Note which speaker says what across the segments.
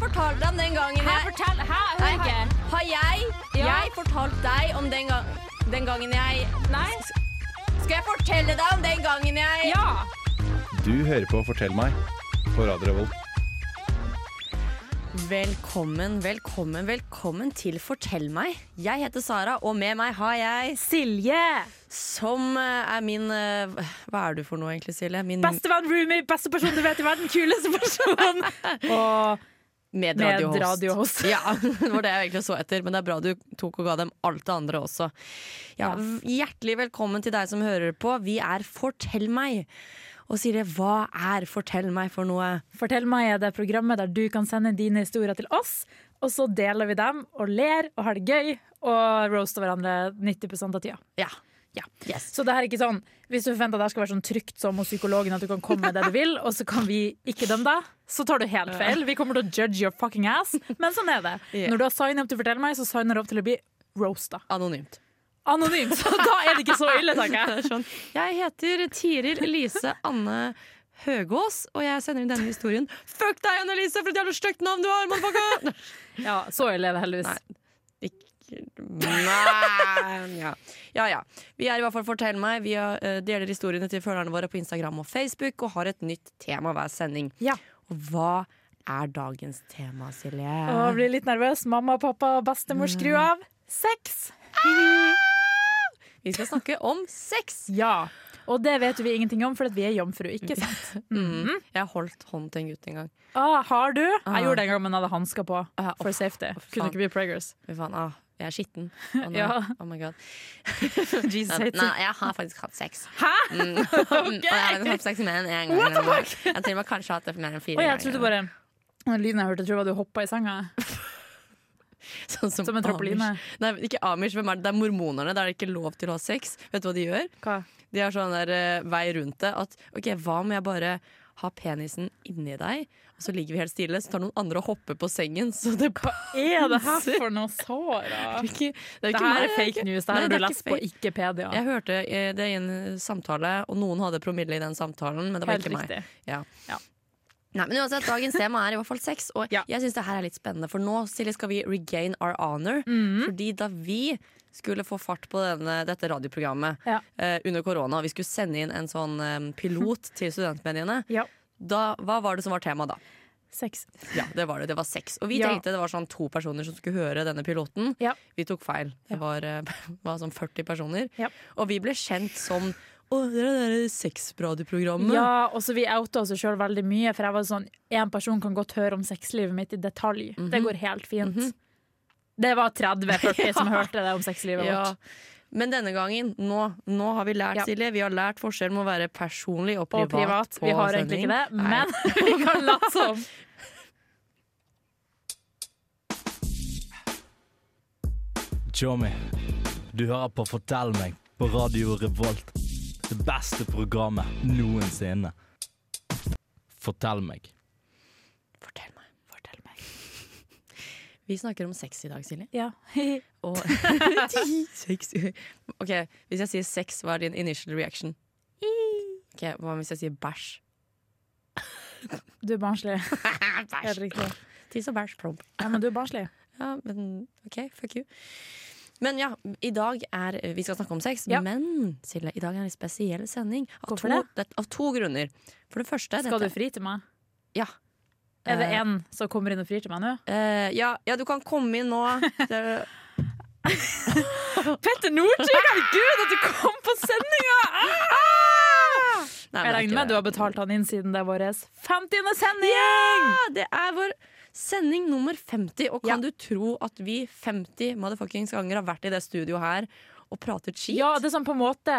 Speaker 1: fortalte deg om den gangen
Speaker 2: Hæ,
Speaker 1: jeg
Speaker 2: fortell! Hæ, hør
Speaker 1: Nei,
Speaker 2: ikke!
Speaker 1: har, har jeg,
Speaker 2: Ja.
Speaker 1: jeg fortalt deg om den, gang, den gangen jeg
Speaker 2: Nei?
Speaker 1: Skal jeg fortelle deg om den gangen jeg
Speaker 2: Ja!
Speaker 3: Du hører på Fortell meg på Radio Revolt.
Speaker 1: Velkommen, velkommen, velkommen til Fortell meg. Jeg heter Sara, og med meg har jeg
Speaker 2: Silje!
Speaker 1: som eh, er min eh, Hva er du for noe, egentlig, Silje? Min
Speaker 2: Bestevenn, roomie, beste person du vet i verden, kuleste person! Og
Speaker 1: medradiohost.
Speaker 2: medradiohost.
Speaker 1: ja, det var det jeg egentlig så etter, men det er bra du tok og ga dem alt det andre også. Ja, v- Hjertelig velkommen til deg som hører på. Vi er Fortell meg. Og Silje, hva er Fortell meg for noe?
Speaker 2: Fortell meg er det programmet der du kan sende dine historier til oss, og så deler vi dem og ler og har det gøy og roaster hverandre 90 av tida.
Speaker 1: Ja.
Speaker 2: Ja.
Speaker 1: Yes.
Speaker 2: Så det her er ikke sånn, hvis du forventer at det her skal være sånn trygt som hos psykologen, at du kan komme med det du vil, og så kan vi ikke dømme deg, så tar du helt feil. Vi kommer til å judge your fucking ass, men sånn er det.
Speaker 1: Ja.
Speaker 2: Når du har signet opp til Fortell meg, så signer du opp til å bli roasta.
Speaker 1: Anonymt.
Speaker 2: Anonymt, så da er det sånn, ikke så ille, tenker jeg.
Speaker 1: Jeg heter Tiril Elise Anne Høgås, og jeg sender inn denne historien. Fuck deg, Anne Elise, for et jævla stygt navn du har! motherfucker!
Speaker 2: Ja, så ille er det heldigvis.
Speaker 1: Nei. Ikke- Nei ja. ja ja. Vi er i hvert fall Fortell meg. Vi har, eh, deler historiene til følgerne våre på Instagram og Facebook og har et nytt tema hver sending.
Speaker 2: Ja.
Speaker 1: Og hva er dagens tema, Silje?
Speaker 2: Og blir litt nervøs. Mamma, pappa, bestemor, skru av. Sex!
Speaker 1: Vi skal snakke om sex.
Speaker 2: Ja. Og det vet vi ingenting om, for at vi er jomfru, ikke sant?
Speaker 1: Jeg holdt hånd til en gutt en gang.
Speaker 2: Ah, har du? Jeg gjorde det en gang, men hadde hansker på.
Speaker 1: Ah,
Speaker 2: For safety.
Speaker 1: å, faen.
Speaker 2: Kunne ikke bli preggers.
Speaker 1: Fy faen, ah, jeg er skitten. Å, nei.
Speaker 2: Ja.
Speaker 1: Oh my god.
Speaker 2: Jesus
Speaker 1: Nei, jeg har faktisk hatt sex.
Speaker 2: Hæ?!
Speaker 1: Mm. Og jeg har hatt sex mer enn én gang.
Speaker 2: What the fuck?
Speaker 1: Jeg har til og med kanskje hatt det mer enn fire
Speaker 2: Oi, jeg
Speaker 1: ganger.
Speaker 2: trodde bare den lyden jeg hørte, jeg trodde det var du hoppa i senga.
Speaker 1: Sånn som,
Speaker 2: Som en trampoline.
Speaker 1: Amish. Nei, ikke Amish, hvem er det? Det er mormonerne. Der er det ikke lov til å ha sex. Vet du hva de gjør?
Speaker 2: Hva?
Speaker 1: De har sånn der eh, vei rundt det. At ok, hva om jeg bare har penisen inni deg, og så ligger vi helt stille, så tar noen andre og hopper på sengen, så det
Speaker 2: Er det her for noe sår, da?
Speaker 1: er ikke, det er
Speaker 2: Det
Speaker 1: ikke
Speaker 2: her
Speaker 1: meg,
Speaker 2: er
Speaker 1: det
Speaker 2: fake
Speaker 1: ikke-
Speaker 2: news. Det her
Speaker 1: Nei,
Speaker 2: har du
Speaker 1: er ikke
Speaker 2: lest på
Speaker 1: fake.
Speaker 2: Ikkepedia.
Speaker 1: Jeg hørte eh, det i en samtale, og noen hadde promille i den samtalen, men det var
Speaker 2: Helt
Speaker 1: ikke
Speaker 2: riktig.
Speaker 1: meg. Ja.
Speaker 2: Ja.
Speaker 1: Nei, men uansett, Dagens tema er i hvert fall sex, og
Speaker 2: Ja.
Speaker 1: jeg syns det her er litt spennende. For nå Silje, skal vi regain our honor.
Speaker 2: Mhm.
Speaker 1: Fordi da vi skulle få fart på denne, dette radioprogrammet
Speaker 2: Ja.
Speaker 1: eh, under korona, og vi skulle sende inn en sånn eh, pilot til studentmediene,
Speaker 2: Ja.
Speaker 1: da, hva var det som var tema da?
Speaker 2: Sex.
Speaker 1: Ja, det var det. Det var sex. Og vi
Speaker 2: Ja.
Speaker 1: tenkte det var sånn to personer som skulle høre denne piloten.
Speaker 2: Ja.
Speaker 1: Vi tok feil. Det var, eh, var sånn 40 personer.
Speaker 2: Ja.
Speaker 1: Og vi ble kjent som Å, det er det der sexradioprogrammet.
Speaker 2: Ja, og så vi outa oss sjøl veldig mye, for jeg var sånn én person kan godt høre om sexlivet mitt i detalj. Det går helt fint. Det var 30-40 som hørte det om sexlivet
Speaker 1: Ja.
Speaker 2: vårt.
Speaker 1: Men denne gangen, nå, nå har vi lært,
Speaker 2: Ja.
Speaker 1: Silje. Vi har lært forskjellen med å være personlig og
Speaker 2: Og
Speaker 1: privat.
Speaker 2: privat.
Speaker 1: på
Speaker 2: Vi har egentlig
Speaker 1: sending.
Speaker 2: ikke det,
Speaker 1: Nei.
Speaker 2: men vi kan late som.
Speaker 4: Tjommi, du hører på Fortell meg på Radio Revolt. Det beste programmet noensinne. Fortell meg.
Speaker 1: Fortell meg. Fortell meg. Vi snakker om sex i dag, Silje.
Speaker 2: Ja.
Speaker 1: Og sex. Ok, Hvis jeg sier sex, hva er din initial reaction? Ok, Hva hvis jeg sier bæsj?
Speaker 2: Du er barnslig. Helt riktig.
Speaker 1: Tiss og bæsj. Promp.
Speaker 2: Ja, men du er barnslig.
Speaker 1: Ja, men ok, fuck you. Men ja, i dag er Vi skal snakke om sex,
Speaker 2: Ja.
Speaker 1: men Silje, i dag er det en spesiell sending. Av,
Speaker 2: Hvorfor
Speaker 1: to, det, av to grunner. For det første
Speaker 2: Skal du
Speaker 1: dette-
Speaker 2: fri til meg?
Speaker 1: Ja.
Speaker 2: Er det én som kommer inn og frir til meg nå?
Speaker 1: Eh, ja, ja, du kan komme inn nå. Det-
Speaker 2: Petter Northug! Herregud, at du kom på sendinga!
Speaker 1: Nei, men
Speaker 2: Jeg
Speaker 1: det er
Speaker 2: regner
Speaker 1: ikke
Speaker 2: med
Speaker 1: det.
Speaker 2: du har betalt han inn siden det er vår 50. sending!
Speaker 1: Ja, Det er vår sending nummer 50, og kan du tro at vi 50 motherfuckings ganger har vært i det studioet her og pratet skit?
Speaker 2: Ja, det er sånn på en måte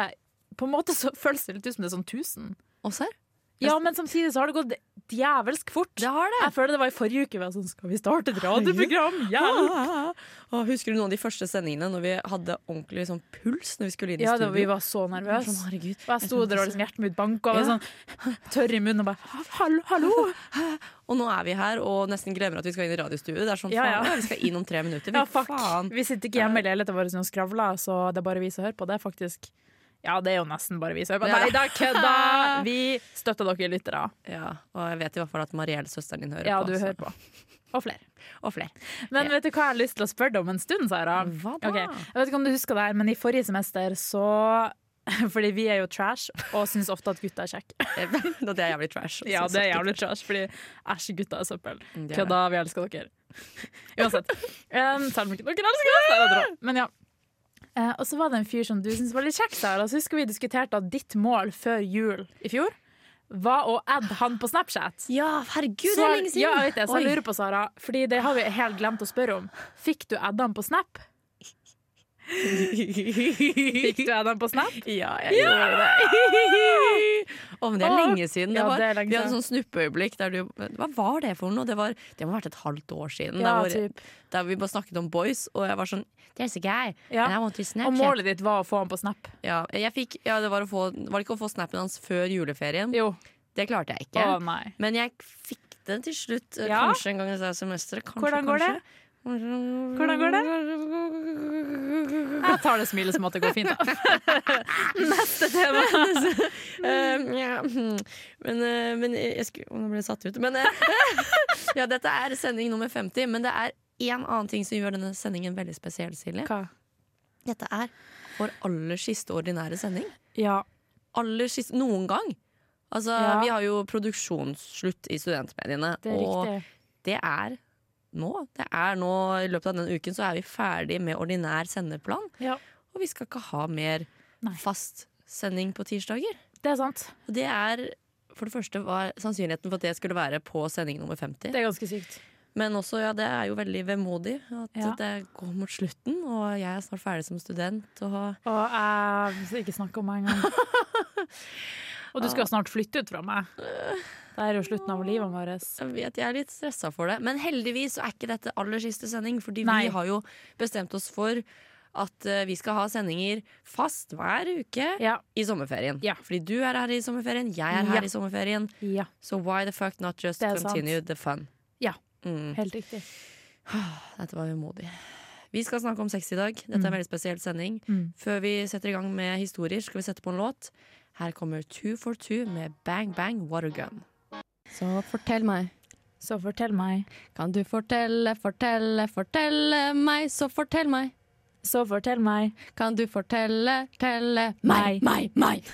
Speaker 2: På en måte så føles det litt ut som det er sånn 1000.
Speaker 1: Og serr?
Speaker 2: Ja, men samtidig så har det gått djevelsk fort.
Speaker 1: Det har det.
Speaker 2: Jeg føler det var i forrige uke. Vi var sånn, skal vi starte et radioprogram? Hjelp!
Speaker 1: Å, Ah. husker du noen av de første sendingene når vi hadde ordentlig sånn puls når vi skulle inn i
Speaker 2: Ja, da,
Speaker 1: studio?
Speaker 2: vi var så nervøse.
Speaker 1: Sånn, herregud.
Speaker 2: Og jeg sto der og liksom hjertet mitt banka og var
Speaker 1: Ja.
Speaker 2: sånn tørr i munnen og bare Hallo! hallo.
Speaker 1: Og nå er vi her og nesten glemmer at vi skal inn i radiostudio. Det er sånn,
Speaker 2: Ja,
Speaker 1: faen,
Speaker 2: ja.
Speaker 1: vi skal inn om tre minutter.
Speaker 2: Ja,
Speaker 1: Vi-
Speaker 2: fuck.
Speaker 1: faen.
Speaker 2: Vi sitter ikke hjemme i leiligheten vår og skravler, så det er bare vi som hører på. Det er faktisk Ja, det er jo nesten bare vi som er på.
Speaker 1: Ja,
Speaker 2: Nei
Speaker 1: da.
Speaker 2: da, kødda! Vi støtter dere lyttere.
Speaker 1: Ja, og jeg vet i hvert fall at Mariell, søsteren din, hører
Speaker 2: Ja,
Speaker 1: på.
Speaker 2: du
Speaker 1: så-
Speaker 2: hører på. Og flere.
Speaker 1: Og flere.
Speaker 2: Men vet du hva jeg har lyst til å spørre deg om en stund, Sara?
Speaker 1: Hva da?
Speaker 2: Ok, Jeg vet ikke om du husker det her, men i forrige semester så Fordi vi er jo trash og syns ofte at gutta er kjekke.
Speaker 1: Nå, det er jævlig trash.
Speaker 2: Ja, det er jævlig trash, fordi æsj, gutta er søppel.
Speaker 1: Mm, det er
Speaker 2: Kødda, vi elsker dere. Uansett. Um, selv om ikke dere elsker oss, det er det bra. Men ja. Eh, og så var det en fyr som du syntes var litt kjekk, Sara. Så husker vi diskuterte at ditt mål før jul i fjor var å adde han på Snapchat.
Speaker 1: Ja, herregud,
Speaker 2: Så-
Speaker 1: det er lenge siden!
Speaker 2: Ja, jeg vet det, så jeg
Speaker 1: Oi.
Speaker 2: lurer på, Sara, fordi det har vi helt glemt å spørre om. Fikk du adda han på Snap? Fikk du adda han på Snap?
Speaker 1: Ja, jeg gjorde det. Å, men det er
Speaker 2: Å,
Speaker 1: lenge siden. Det
Speaker 2: ja,
Speaker 1: var,
Speaker 2: det er lenge
Speaker 1: vi hadde
Speaker 2: siden.
Speaker 1: sånn snuppeøyeblikk der du Hva var det for noe? Det, var, det må ha vært et halvt år siden.
Speaker 2: Ja,
Speaker 1: der, hvor,
Speaker 2: typ.
Speaker 1: der vi bare snakket om boys, og jeg var sånn There's a guy,
Speaker 2: Ja.
Speaker 1: and I want to
Speaker 2: Og
Speaker 1: Snapchat.
Speaker 2: målet ditt var å få han på Snap?
Speaker 1: Ja, jeg fikk, ja, det var, å få, var det ikke å få snappen hans før juleferien?
Speaker 2: Jo.
Speaker 1: Det klarte jeg ikke.
Speaker 2: Å nei.
Speaker 1: Men jeg fikk den til slutt, eh,
Speaker 2: Ja.
Speaker 1: kanskje en gang i dette semesteret. Kanskje,
Speaker 2: Hvordan går
Speaker 1: kanskje.
Speaker 2: det? Hvordan går Jeg tar det smilet som at det går fint. da.
Speaker 1: Eh, ja, hmm. men, eh, men jeg skulle Å, Nå ble jeg satt ut. Men eh, Ja, dette er sending nummer 50, men det er én annen ting som gjør denne sendingen veldig spesiell, Silje. Dette er vår aller siste ordinære sending.
Speaker 2: Ja.
Speaker 1: Aller siste noen gang. Altså,
Speaker 2: Ja.
Speaker 1: vi har jo produksjonsslutt i studentmediene,
Speaker 2: Det er
Speaker 1: og
Speaker 2: riktig.
Speaker 1: det er nå. Det er nå, I løpet av denne uken så er vi ferdig med ordinær sendeplan.
Speaker 2: Ja.
Speaker 1: Og vi skal ikke ha mer
Speaker 2: Nei.
Speaker 1: fast sending på tirsdager.
Speaker 2: Det er sant.
Speaker 1: Og det er for det første var sannsynligheten for at det skulle være på sending nummer 50.
Speaker 2: Det er ganske sykt.
Speaker 1: Men også, ja, det er jo veldig vemodig at
Speaker 2: Ja.
Speaker 1: det går mot slutten. Og jeg er snart ferdig som student. Og
Speaker 2: Og jeg skal ikke snakke om meg engang. Og du skal snart flytte ut fra meg. Det er jo slutten av livet vårt.
Speaker 1: jeg vet jeg er litt stressa for det. Men heldigvis så er ikke dette aller siste sending, fordi
Speaker 2: Nei.
Speaker 1: vi har jo bestemt oss for at eh, vi skal ha sendinger fast hver uke
Speaker 2: Ja.
Speaker 1: i sommerferien.
Speaker 2: Ja.
Speaker 1: Fordi du er her i sommerferien, jeg er her
Speaker 2: Ja.
Speaker 1: i sommerferien.
Speaker 2: ja.
Speaker 1: Så why the fuck not just
Speaker 2: Det er sant.
Speaker 1: continue the fun?
Speaker 2: Ja.
Speaker 1: Mm.
Speaker 2: Helt riktig.
Speaker 1: Dette var vemodig. Vi skal snakke om sex i dag. Dette er en veldig spesiell sending.
Speaker 2: Mm.
Speaker 1: Før vi setter i gang med historier, skal vi sette på en låt. Her kommer Two for Two med Bang Bang Watergun.
Speaker 5: Så fortell meg,
Speaker 2: Så fortell meg.
Speaker 5: kan du fortelle, fortelle, fortelle meg, så fortell meg.
Speaker 2: Så fortell meg.
Speaker 5: Kan du fortelle, telle
Speaker 2: Meg.
Speaker 5: meg, meg, meg.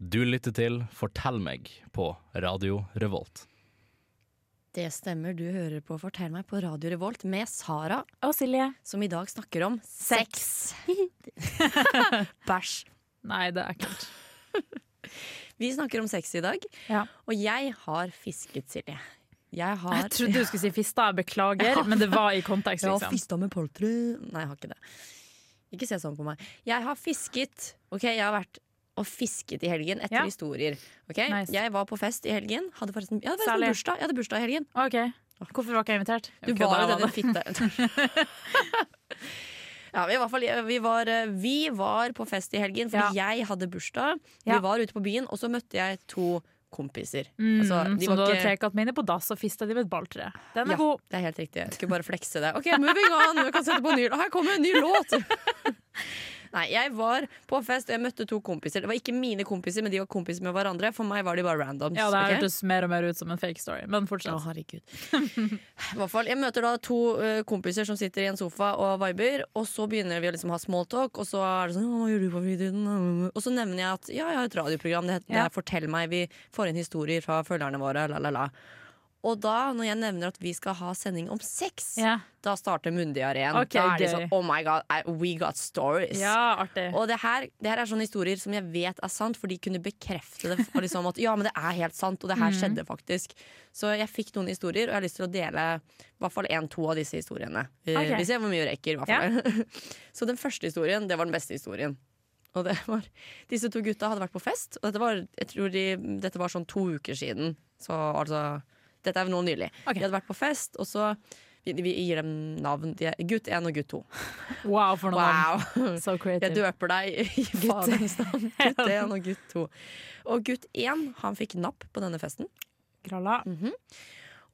Speaker 4: Du lytter til Fortell meg på Radio Revolt.
Speaker 1: Det stemmer, du hører på Fortell meg på Radio Revolt med Sara,
Speaker 2: Å, Silje.
Speaker 1: som i dag snakker om sex. Bæsj.
Speaker 2: Nei, det er ekkelt.
Speaker 1: Vi snakker om sex i dag,
Speaker 2: Ja.
Speaker 1: og jeg har fisket, Silje. Jeg har
Speaker 2: Jeg trodde du skulle si fista, jeg beklager, men det var i kontekst,
Speaker 1: Jeg har
Speaker 2: liksom.
Speaker 1: fista med poltre Nei, jeg har ikke det. Ikke se sånn på meg. Jeg har fisket. Ok, Jeg har vært og fisket i helgen etter
Speaker 2: Ja.
Speaker 1: historier. Ok,
Speaker 2: Nice.
Speaker 1: Jeg var på fest i helgen. Hadde forresten, jeg hadde forresten
Speaker 2: Særlig.
Speaker 1: bursdag Jeg hadde bursdag i helgen.
Speaker 2: OK. Hvorfor var ikke jeg invitert?
Speaker 1: Du
Speaker 2: Ok,
Speaker 1: var
Speaker 2: da
Speaker 1: jo denne
Speaker 2: det.
Speaker 1: fitta Ja, men i hvert fall, vi var, eh, vi var på fest i helgen, fordi jeg hadde bursdag. Vi
Speaker 2: Ja.
Speaker 1: var ute på byen, og så møtte jeg to kompiser.
Speaker 2: Mm,
Speaker 1: Altså, de
Speaker 2: som du
Speaker 1: var
Speaker 2: hadde
Speaker 1: ikke
Speaker 2: trekatt mine på dass og fista de med et balltre. Den
Speaker 1: Ja,
Speaker 2: er god.
Speaker 1: det er helt riktig. Jeg skulle bare flekse det. Ok, moving on! Vi kan sette på en ny Her kommer en ny låt! Nei, jeg var på fest, og jeg møtte to kompiser. Det var ikke mine kompiser, men de var kompiser med hverandre. For meg var de bare randoms.
Speaker 2: Ja, det her
Speaker 1: ok?
Speaker 2: hørtes mer og mer ut som en fake story, men
Speaker 1: Å,
Speaker 2: fortsett.
Speaker 1: herregud. I hvert fall, jeg møter da to eh, kompiser som sitter i en sofa og viber, og så begynner vi å liksom ha smalltalk, og så er det sånn «Å, Hva gjør du på fritiden? Og så nevner jeg at ja, jeg har et radioprogram, det, het- det
Speaker 2: Ja.
Speaker 1: er Fortell meg, vi får inn historier fra følgerne våre, la, la, la. Og da, når jeg nevner at vi skal ha sending om sex,
Speaker 2: Ja.
Speaker 1: da starter munndiareen.
Speaker 2: Ok,
Speaker 1: da er de
Speaker 2: gøy.
Speaker 1: sånn Oh my god, I, we got stories.
Speaker 2: ja, artig.
Speaker 1: Og det her, det her er sånne historier som jeg vet er sant, for de kunne bekrefte det. Og liksom at ja, men det er helt sant, og det
Speaker 2: Mhm.
Speaker 1: her skjedde faktisk. Så jeg fikk noen historier, og jeg har lyst til å dele i hvert fall én-to av disse historiene. Eh,
Speaker 2: Ok.
Speaker 1: Vi ser hvor mye vi rekker, i hvert fall. Så den første historien, det var den beste historien. Og det var, disse to gutta hadde vært på fest, og dette var, jeg tror de, dette var sånn to uker siden. Så altså Dette er nå nylig.
Speaker 2: Ok.
Speaker 1: De hadde vært på fest, og så vi, vi gir dem navn. De er gutt 1 og gutt 2.
Speaker 2: Wow, for noe navn.
Speaker 1: Wow!
Speaker 2: So
Speaker 1: Jeg
Speaker 2: creative.
Speaker 1: døper deg i faderens navn. Gutt 1 og gutt 2. Og Mhm. gutt 1 han fikk napp på denne festen.
Speaker 2: Kralla.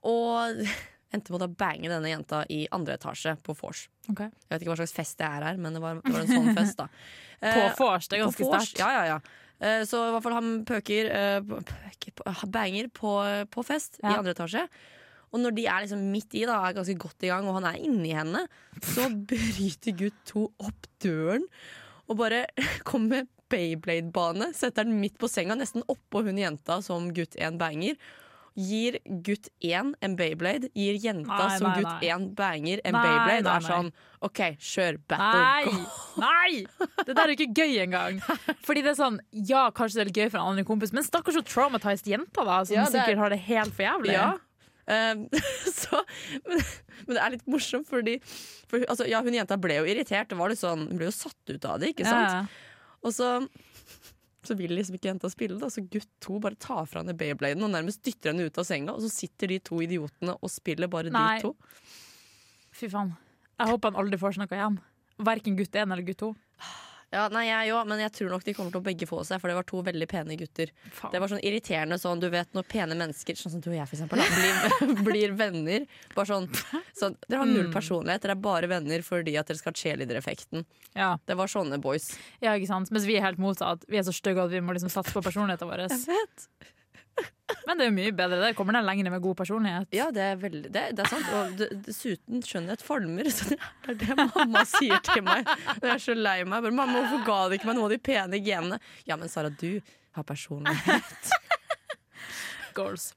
Speaker 1: Og endte med å da bange denne jenta i andre etasje på vors.
Speaker 2: Ok.
Speaker 1: Jeg vet ikke hva slags fest det er her, men det var, det var en sånn fest, da.
Speaker 2: På
Speaker 1: Eh,
Speaker 2: vors, det er ganske
Speaker 1: på vors.
Speaker 2: sterkt.
Speaker 1: Ja, ja, ja. Eh, Så i hvert fall han pøker, eh, pøker på- han banger på, eh, på fest i
Speaker 2: Ja.
Speaker 1: andre etasje. Og når de er liksom midt i, da, er ganske godt i gang, og han er inni henne, så bryter gutt to opp døren og bare kommer med Bayblade-bane. Setter den midt på senga, nesten oppå hun jenta som gutt 1 banger. Gir gutt 1 en Bayblade, gir jenta
Speaker 2: Nei,
Speaker 1: som
Speaker 2: nei,
Speaker 1: gutt
Speaker 2: nei.
Speaker 1: 1 banger en
Speaker 2: Nei,
Speaker 1: Bayblade. Og
Speaker 2: nei,
Speaker 1: er
Speaker 2: nei.
Speaker 1: sånn OK, kjør battle.
Speaker 2: Nei! Nei! Det der er jo ikke gøy engang. Fordi det er sånn, ja, kanskje det er litt gøy for en annen kompis, men stakkars så traumatized jenta, da, som
Speaker 1: Ja, det er-
Speaker 2: sikkert har det helt for jævlig.
Speaker 1: Ja. Ehm, så, men, men det er litt morsomt, fordi for, altså, Ja, hun jenta ble jo irritert. Det var litt sånn, hun ble jo satt ut av det, ikke sant?
Speaker 2: Ja.
Speaker 1: Og så, så vil liksom ikke jenta spille, da, så gutt to bare tar fra henne Baybladen og nærmest dytter henne ut av senga, og så sitter de to idiotene og spiller bare
Speaker 2: Nei.
Speaker 1: de to.
Speaker 2: Fy faen. Jeg håper han aldri får snakke igjen. Verken gutt 1 eller gutt 2.
Speaker 1: Ja, nei, jeg òg, men jeg tror nok de kommer til å begge få seg, for det var to veldig pene gutter.
Speaker 2: Faen.
Speaker 1: Det var sånn irriterende sånn, du vet når pene mennesker, sånn som du og jeg for eksempel, da, blir, blir venner. Bare sånn, sånn Dere har null personlighet, dere er bare venner fordi at dere skal ha cheerleader-effekten.
Speaker 2: Ja.
Speaker 1: Det var sånne boys.
Speaker 2: ja, ikke sant? Mens vi er helt motsatt. Vi er så stygge at vi må liksom satse på personligheten vår.
Speaker 1: vet.
Speaker 2: Men det er jo mye bedre. Det kommer den lenger med god personlighet.
Speaker 1: Ja, det er, veldig, det, det er sant. Og d- dessuten skjønnhet former. Så det er det mamma sier til meg når jeg er så lei meg. Bare, mamma, hvorfor ga du ikke meg noe av de pene genene? Ja, men Sara, du har personlighet.
Speaker 2: Goals.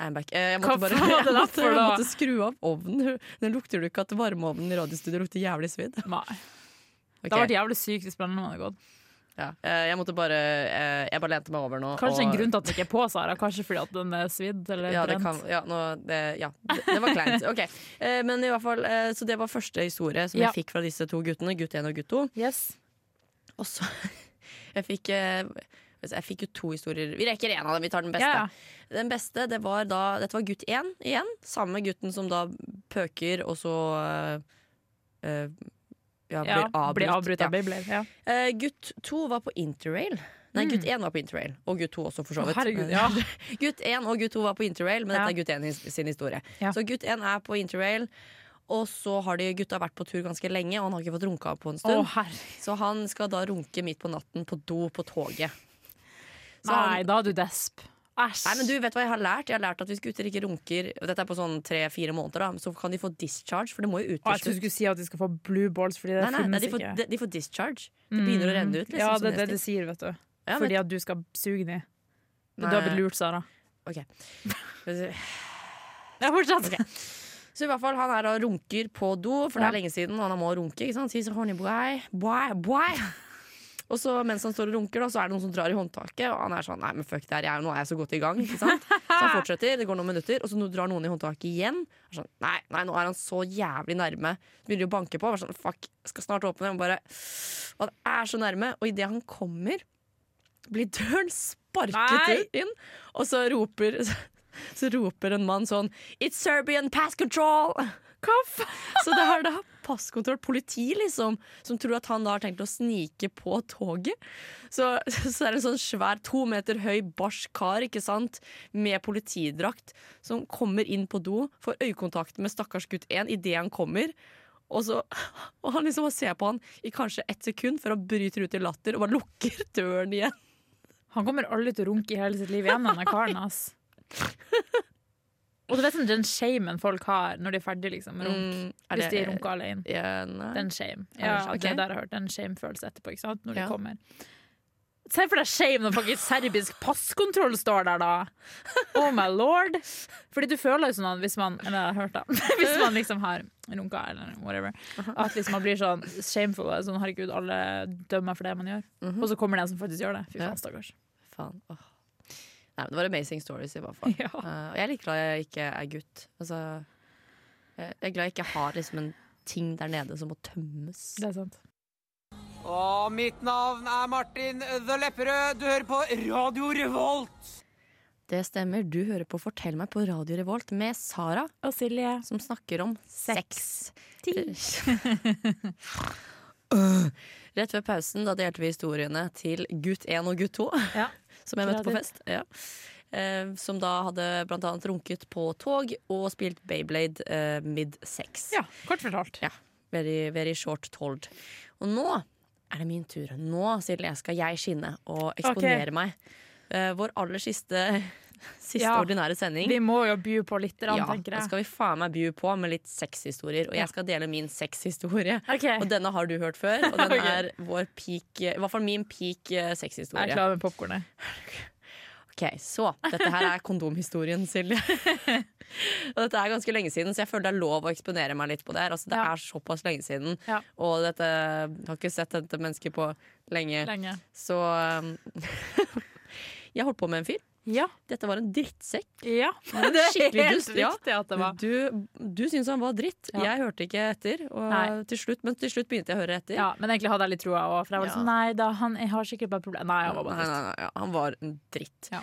Speaker 1: I'm back. Eh, Jeg
Speaker 2: Hva
Speaker 1: måtte bare
Speaker 2: faen var det
Speaker 1: jeg
Speaker 2: der
Speaker 1: måtte,
Speaker 2: for
Speaker 1: jeg
Speaker 2: da?
Speaker 1: måtte skru av ovnen. Nå lukter du ikke at varmeovnen i radiostudioet lukter jævlig svidd.
Speaker 2: Nei.
Speaker 1: Ok.
Speaker 2: Det hadde vært jævlig sykt hvis brannene hadde gått.
Speaker 1: Ja. Eh, Jeg måtte bare eh, Jeg bare lente meg over nå.
Speaker 2: Kanskje
Speaker 1: og-
Speaker 2: en grunn til at den ikke er på, Sara. Kanskje fordi at den er svidd eller
Speaker 1: ja, det
Speaker 2: brent.
Speaker 1: kan, ja, nå, det, ja, det, det var kleint. Ok, eh, Men i hvert fall, eh, så det var første historie som
Speaker 2: Ja.
Speaker 1: jeg fikk fra disse to guttene. Gutt 1 og gutt 2.
Speaker 2: Yes.
Speaker 1: Og så Jeg fikk eh, jeg fikk jo to historier. Vi rekker én av dem. Vi tar den beste.
Speaker 2: Ja, ja.
Speaker 1: Den beste, det var da Dette var gutt 1 igjen. Samme gutten som da pøker, og så eh, eh, ja, blir
Speaker 2: Ja,
Speaker 1: avbrutt.
Speaker 2: blir avbrutt
Speaker 1: Ja.
Speaker 2: av bibler. Ja.
Speaker 1: Eh, gutt 2 var på interrail. Nei, gutt 1 var på interrail, og gutt 2 også, for så
Speaker 2: Mm. Å,
Speaker 1: vidt. Eh,
Speaker 2: herregud, ja.
Speaker 1: gutt 1 og gutt 2 var på interrail, men
Speaker 2: Ja.
Speaker 1: dette er gutt 1 his- sin historie.
Speaker 2: Ja.
Speaker 1: Så gutt 1 er på interrail, og så har de gutta vært på tur ganske lenge, og han har ikke fått runka på en
Speaker 2: Å,
Speaker 1: stund.
Speaker 2: herre.
Speaker 1: Så han skal da runke midt på natten på do på toget. Så
Speaker 2: Nei,
Speaker 1: han,
Speaker 2: da er du desp. Æsj.
Speaker 1: nei, men du vet du hva jeg har lært? Jeg har lært at hvis gutter ikke runker, og dette er på sånn tre-fire måneder, da, så kan de få discharge, for det må jo
Speaker 2: Å, jeg trodde
Speaker 1: utveksles.
Speaker 2: du skulle si at de skal få blue balls, fordi det
Speaker 1: Nei, nei, nei,
Speaker 2: finnes
Speaker 1: de, får,
Speaker 2: ikke.
Speaker 1: de, de får discharge. Det begynner å renne ut. Liksom,
Speaker 2: Mm. ja,
Speaker 1: som
Speaker 2: det er det
Speaker 1: nesting.
Speaker 2: de sier, vet du.
Speaker 1: Ja, men-
Speaker 2: fordi at du skal suge de. Du
Speaker 1: Nei.
Speaker 2: har blitt lurt, Sara. Ja, fortsett.
Speaker 1: Så i hvert fall, han er da runker på do, for det
Speaker 2: Ja.
Speaker 1: er lenge siden, og han må runke. ikke sant? Sier så, honey boy, boy, boy. Og så mens han står og runker, da, så er det noen som drar i håndtaket. Og han er sånn, nei, men fuck det her, jeg, nå er jeg så godt i gang. ikke sant? Så han fortsetter, det går noen minutter, og så nå drar noen i håndtaket igjen. Han er Sånn, nei, nei, nå er han så jævlig nærme. Så begynner de å banke på. og er Sånn, fuck, jeg skal snart åpne. Og bare, og han er så nærme. Og idet han kommer, blir døren sparket
Speaker 2: Nei!
Speaker 1: ut inn, og så roper så roper en mann sånn It's Serbian pass control! Hva Så det er da passkontroll, politi liksom, som tror at han da har tenkt å snike på toget. Så, så er det en sånn svær, to meter høy, barsk kar, ikke sant, med politidrakt, som kommer inn på do, får øyekontakt med stakkars gutt 1 idet han kommer. Og, så, og han liksom ser på han i kanskje ett sekund før han bryter ut i latter og bare lukker døren igjen.
Speaker 2: Han kommer aldri til å runke i hele sitt liv igjen, denne karen, ass. Og du vet sånn den- den shamen folk har når de er ferdig liksom, med runk.
Speaker 1: Mm, er
Speaker 2: Hvis de
Speaker 1: det-
Speaker 2: runker alene.
Speaker 1: Ja, nei.
Speaker 2: Det er en shame.
Speaker 1: Er det
Speaker 2: Ja,
Speaker 1: shame?
Speaker 2: det er
Speaker 1: Ok.
Speaker 2: der jeg har hørt det er en shame-følelse etterpå. Ikke sant? Når
Speaker 1: Ja.
Speaker 2: de kommer. Se for deg shame når faktisk serbisk passkontroll står der, da! Oh my lord! Fordi du føler jo sånn at hvis man Eller jeg har hørt det. Hvis man liksom har runka eller whatever. At liksom man blir sånn shameful. og Sånn, Herregud, alle dømmer meg for det man gjør. Og så kommer det en som faktisk gjør det. Fy
Speaker 1: Ja.
Speaker 2: faen, stakkars.
Speaker 1: Faen. Åh. Nei, men det var amazing stories i hvert fall.
Speaker 2: Ja.
Speaker 1: Eh, og jeg er litt glad jeg ikke er gutt. Altså, jeg jeg er glad jeg ikke har liksom en ting der nede som må tømmes.
Speaker 2: Det er sant.
Speaker 6: Og mitt navn er Martin The Lepperød. Du hører på Radio Revolt.
Speaker 1: Det stemmer. Du hører på Fortell meg på Radio Revolt med Sara,
Speaker 2: Og Silje.
Speaker 1: som snakker om sex. Øh. Rett før pausen da delte vi historiene til gutt 1 og gutt 2,
Speaker 2: Ja.
Speaker 1: som jeg møtte på
Speaker 2: Gleder.
Speaker 1: fest. Ja. eh, som da hadde blant annet runket på tog og spilt Bayblade eh, mid sex.
Speaker 2: Ja, kort fortalt.
Speaker 1: Ja. Very, very short told. Og nå er det min tur. Nå, Silje, skal jeg skinne og eksponere meg. Eh, vår aller siste, siste
Speaker 2: Ja.
Speaker 1: ordinære sending.
Speaker 2: Vi må jo by på litt, rann,
Speaker 1: ja,
Speaker 2: tenker
Speaker 1: da
Speaker 2: jeg.
Speaker 1: skal vi faen meg by på med litt sexhistorier. Og jeg skal dele min sexhistorie.
Speaker 2: Ok.
Speaker 1: Og denne har du hørt før, og den
Speaker 2: Eh. Ok.
Speaker 1: er vår peak, i hvert fall min peak eh,
Speaker 2: Jeg er
Speaker 1: sexhistorie.
Speaker 2: klar med popkornet.
Speaker 1: Ok, Så dette her er kondomhistorien, Silje. og dette er ganske lenge siden, så jeg føler det er lov å eksponere meg litt på det her. Altså, det
Speaker 2: Ja.
Speaker 1: er såpass lenge siden,
Speaker 2: Ja.
Speaker 1: og dette jeg har ikke sett dette mennesket på lenge.
Speaker 2: Lenge.
Speaker 1: Så um, jeg holdt på med en fyr.
Speaker 2: Ja.
Speaker 1: Dette var en drittsekk.
Speaker 2: ja.
Speaker 1: Det er skikkelig
Speaker 2: Helt
Speaker 1: dust. Ja.
Speaker 2: riktig at det var.
Speaker 1: Du, du syntes han var dritt.
Speaker 2: Ja.
Speaker 1: Jeg hørte ikke etter, og
Speaker 2: Nei.
Speaker 1: til slutt, men til slutt begynte jeg å høre etter.
Speaker 2: Ja, men egentlig hadde jeg litt troa òg, for jeg
Speaker 1: Ja.
Speaker 2: var sånn Nei da, han jeg har sikkert bare problemer Nei, han var
Speaker 1: Nei, nei,
Speaker 2: bare dust.
Speaker 1: nei, ja, han var en dritt.
Speaker 2: Ja.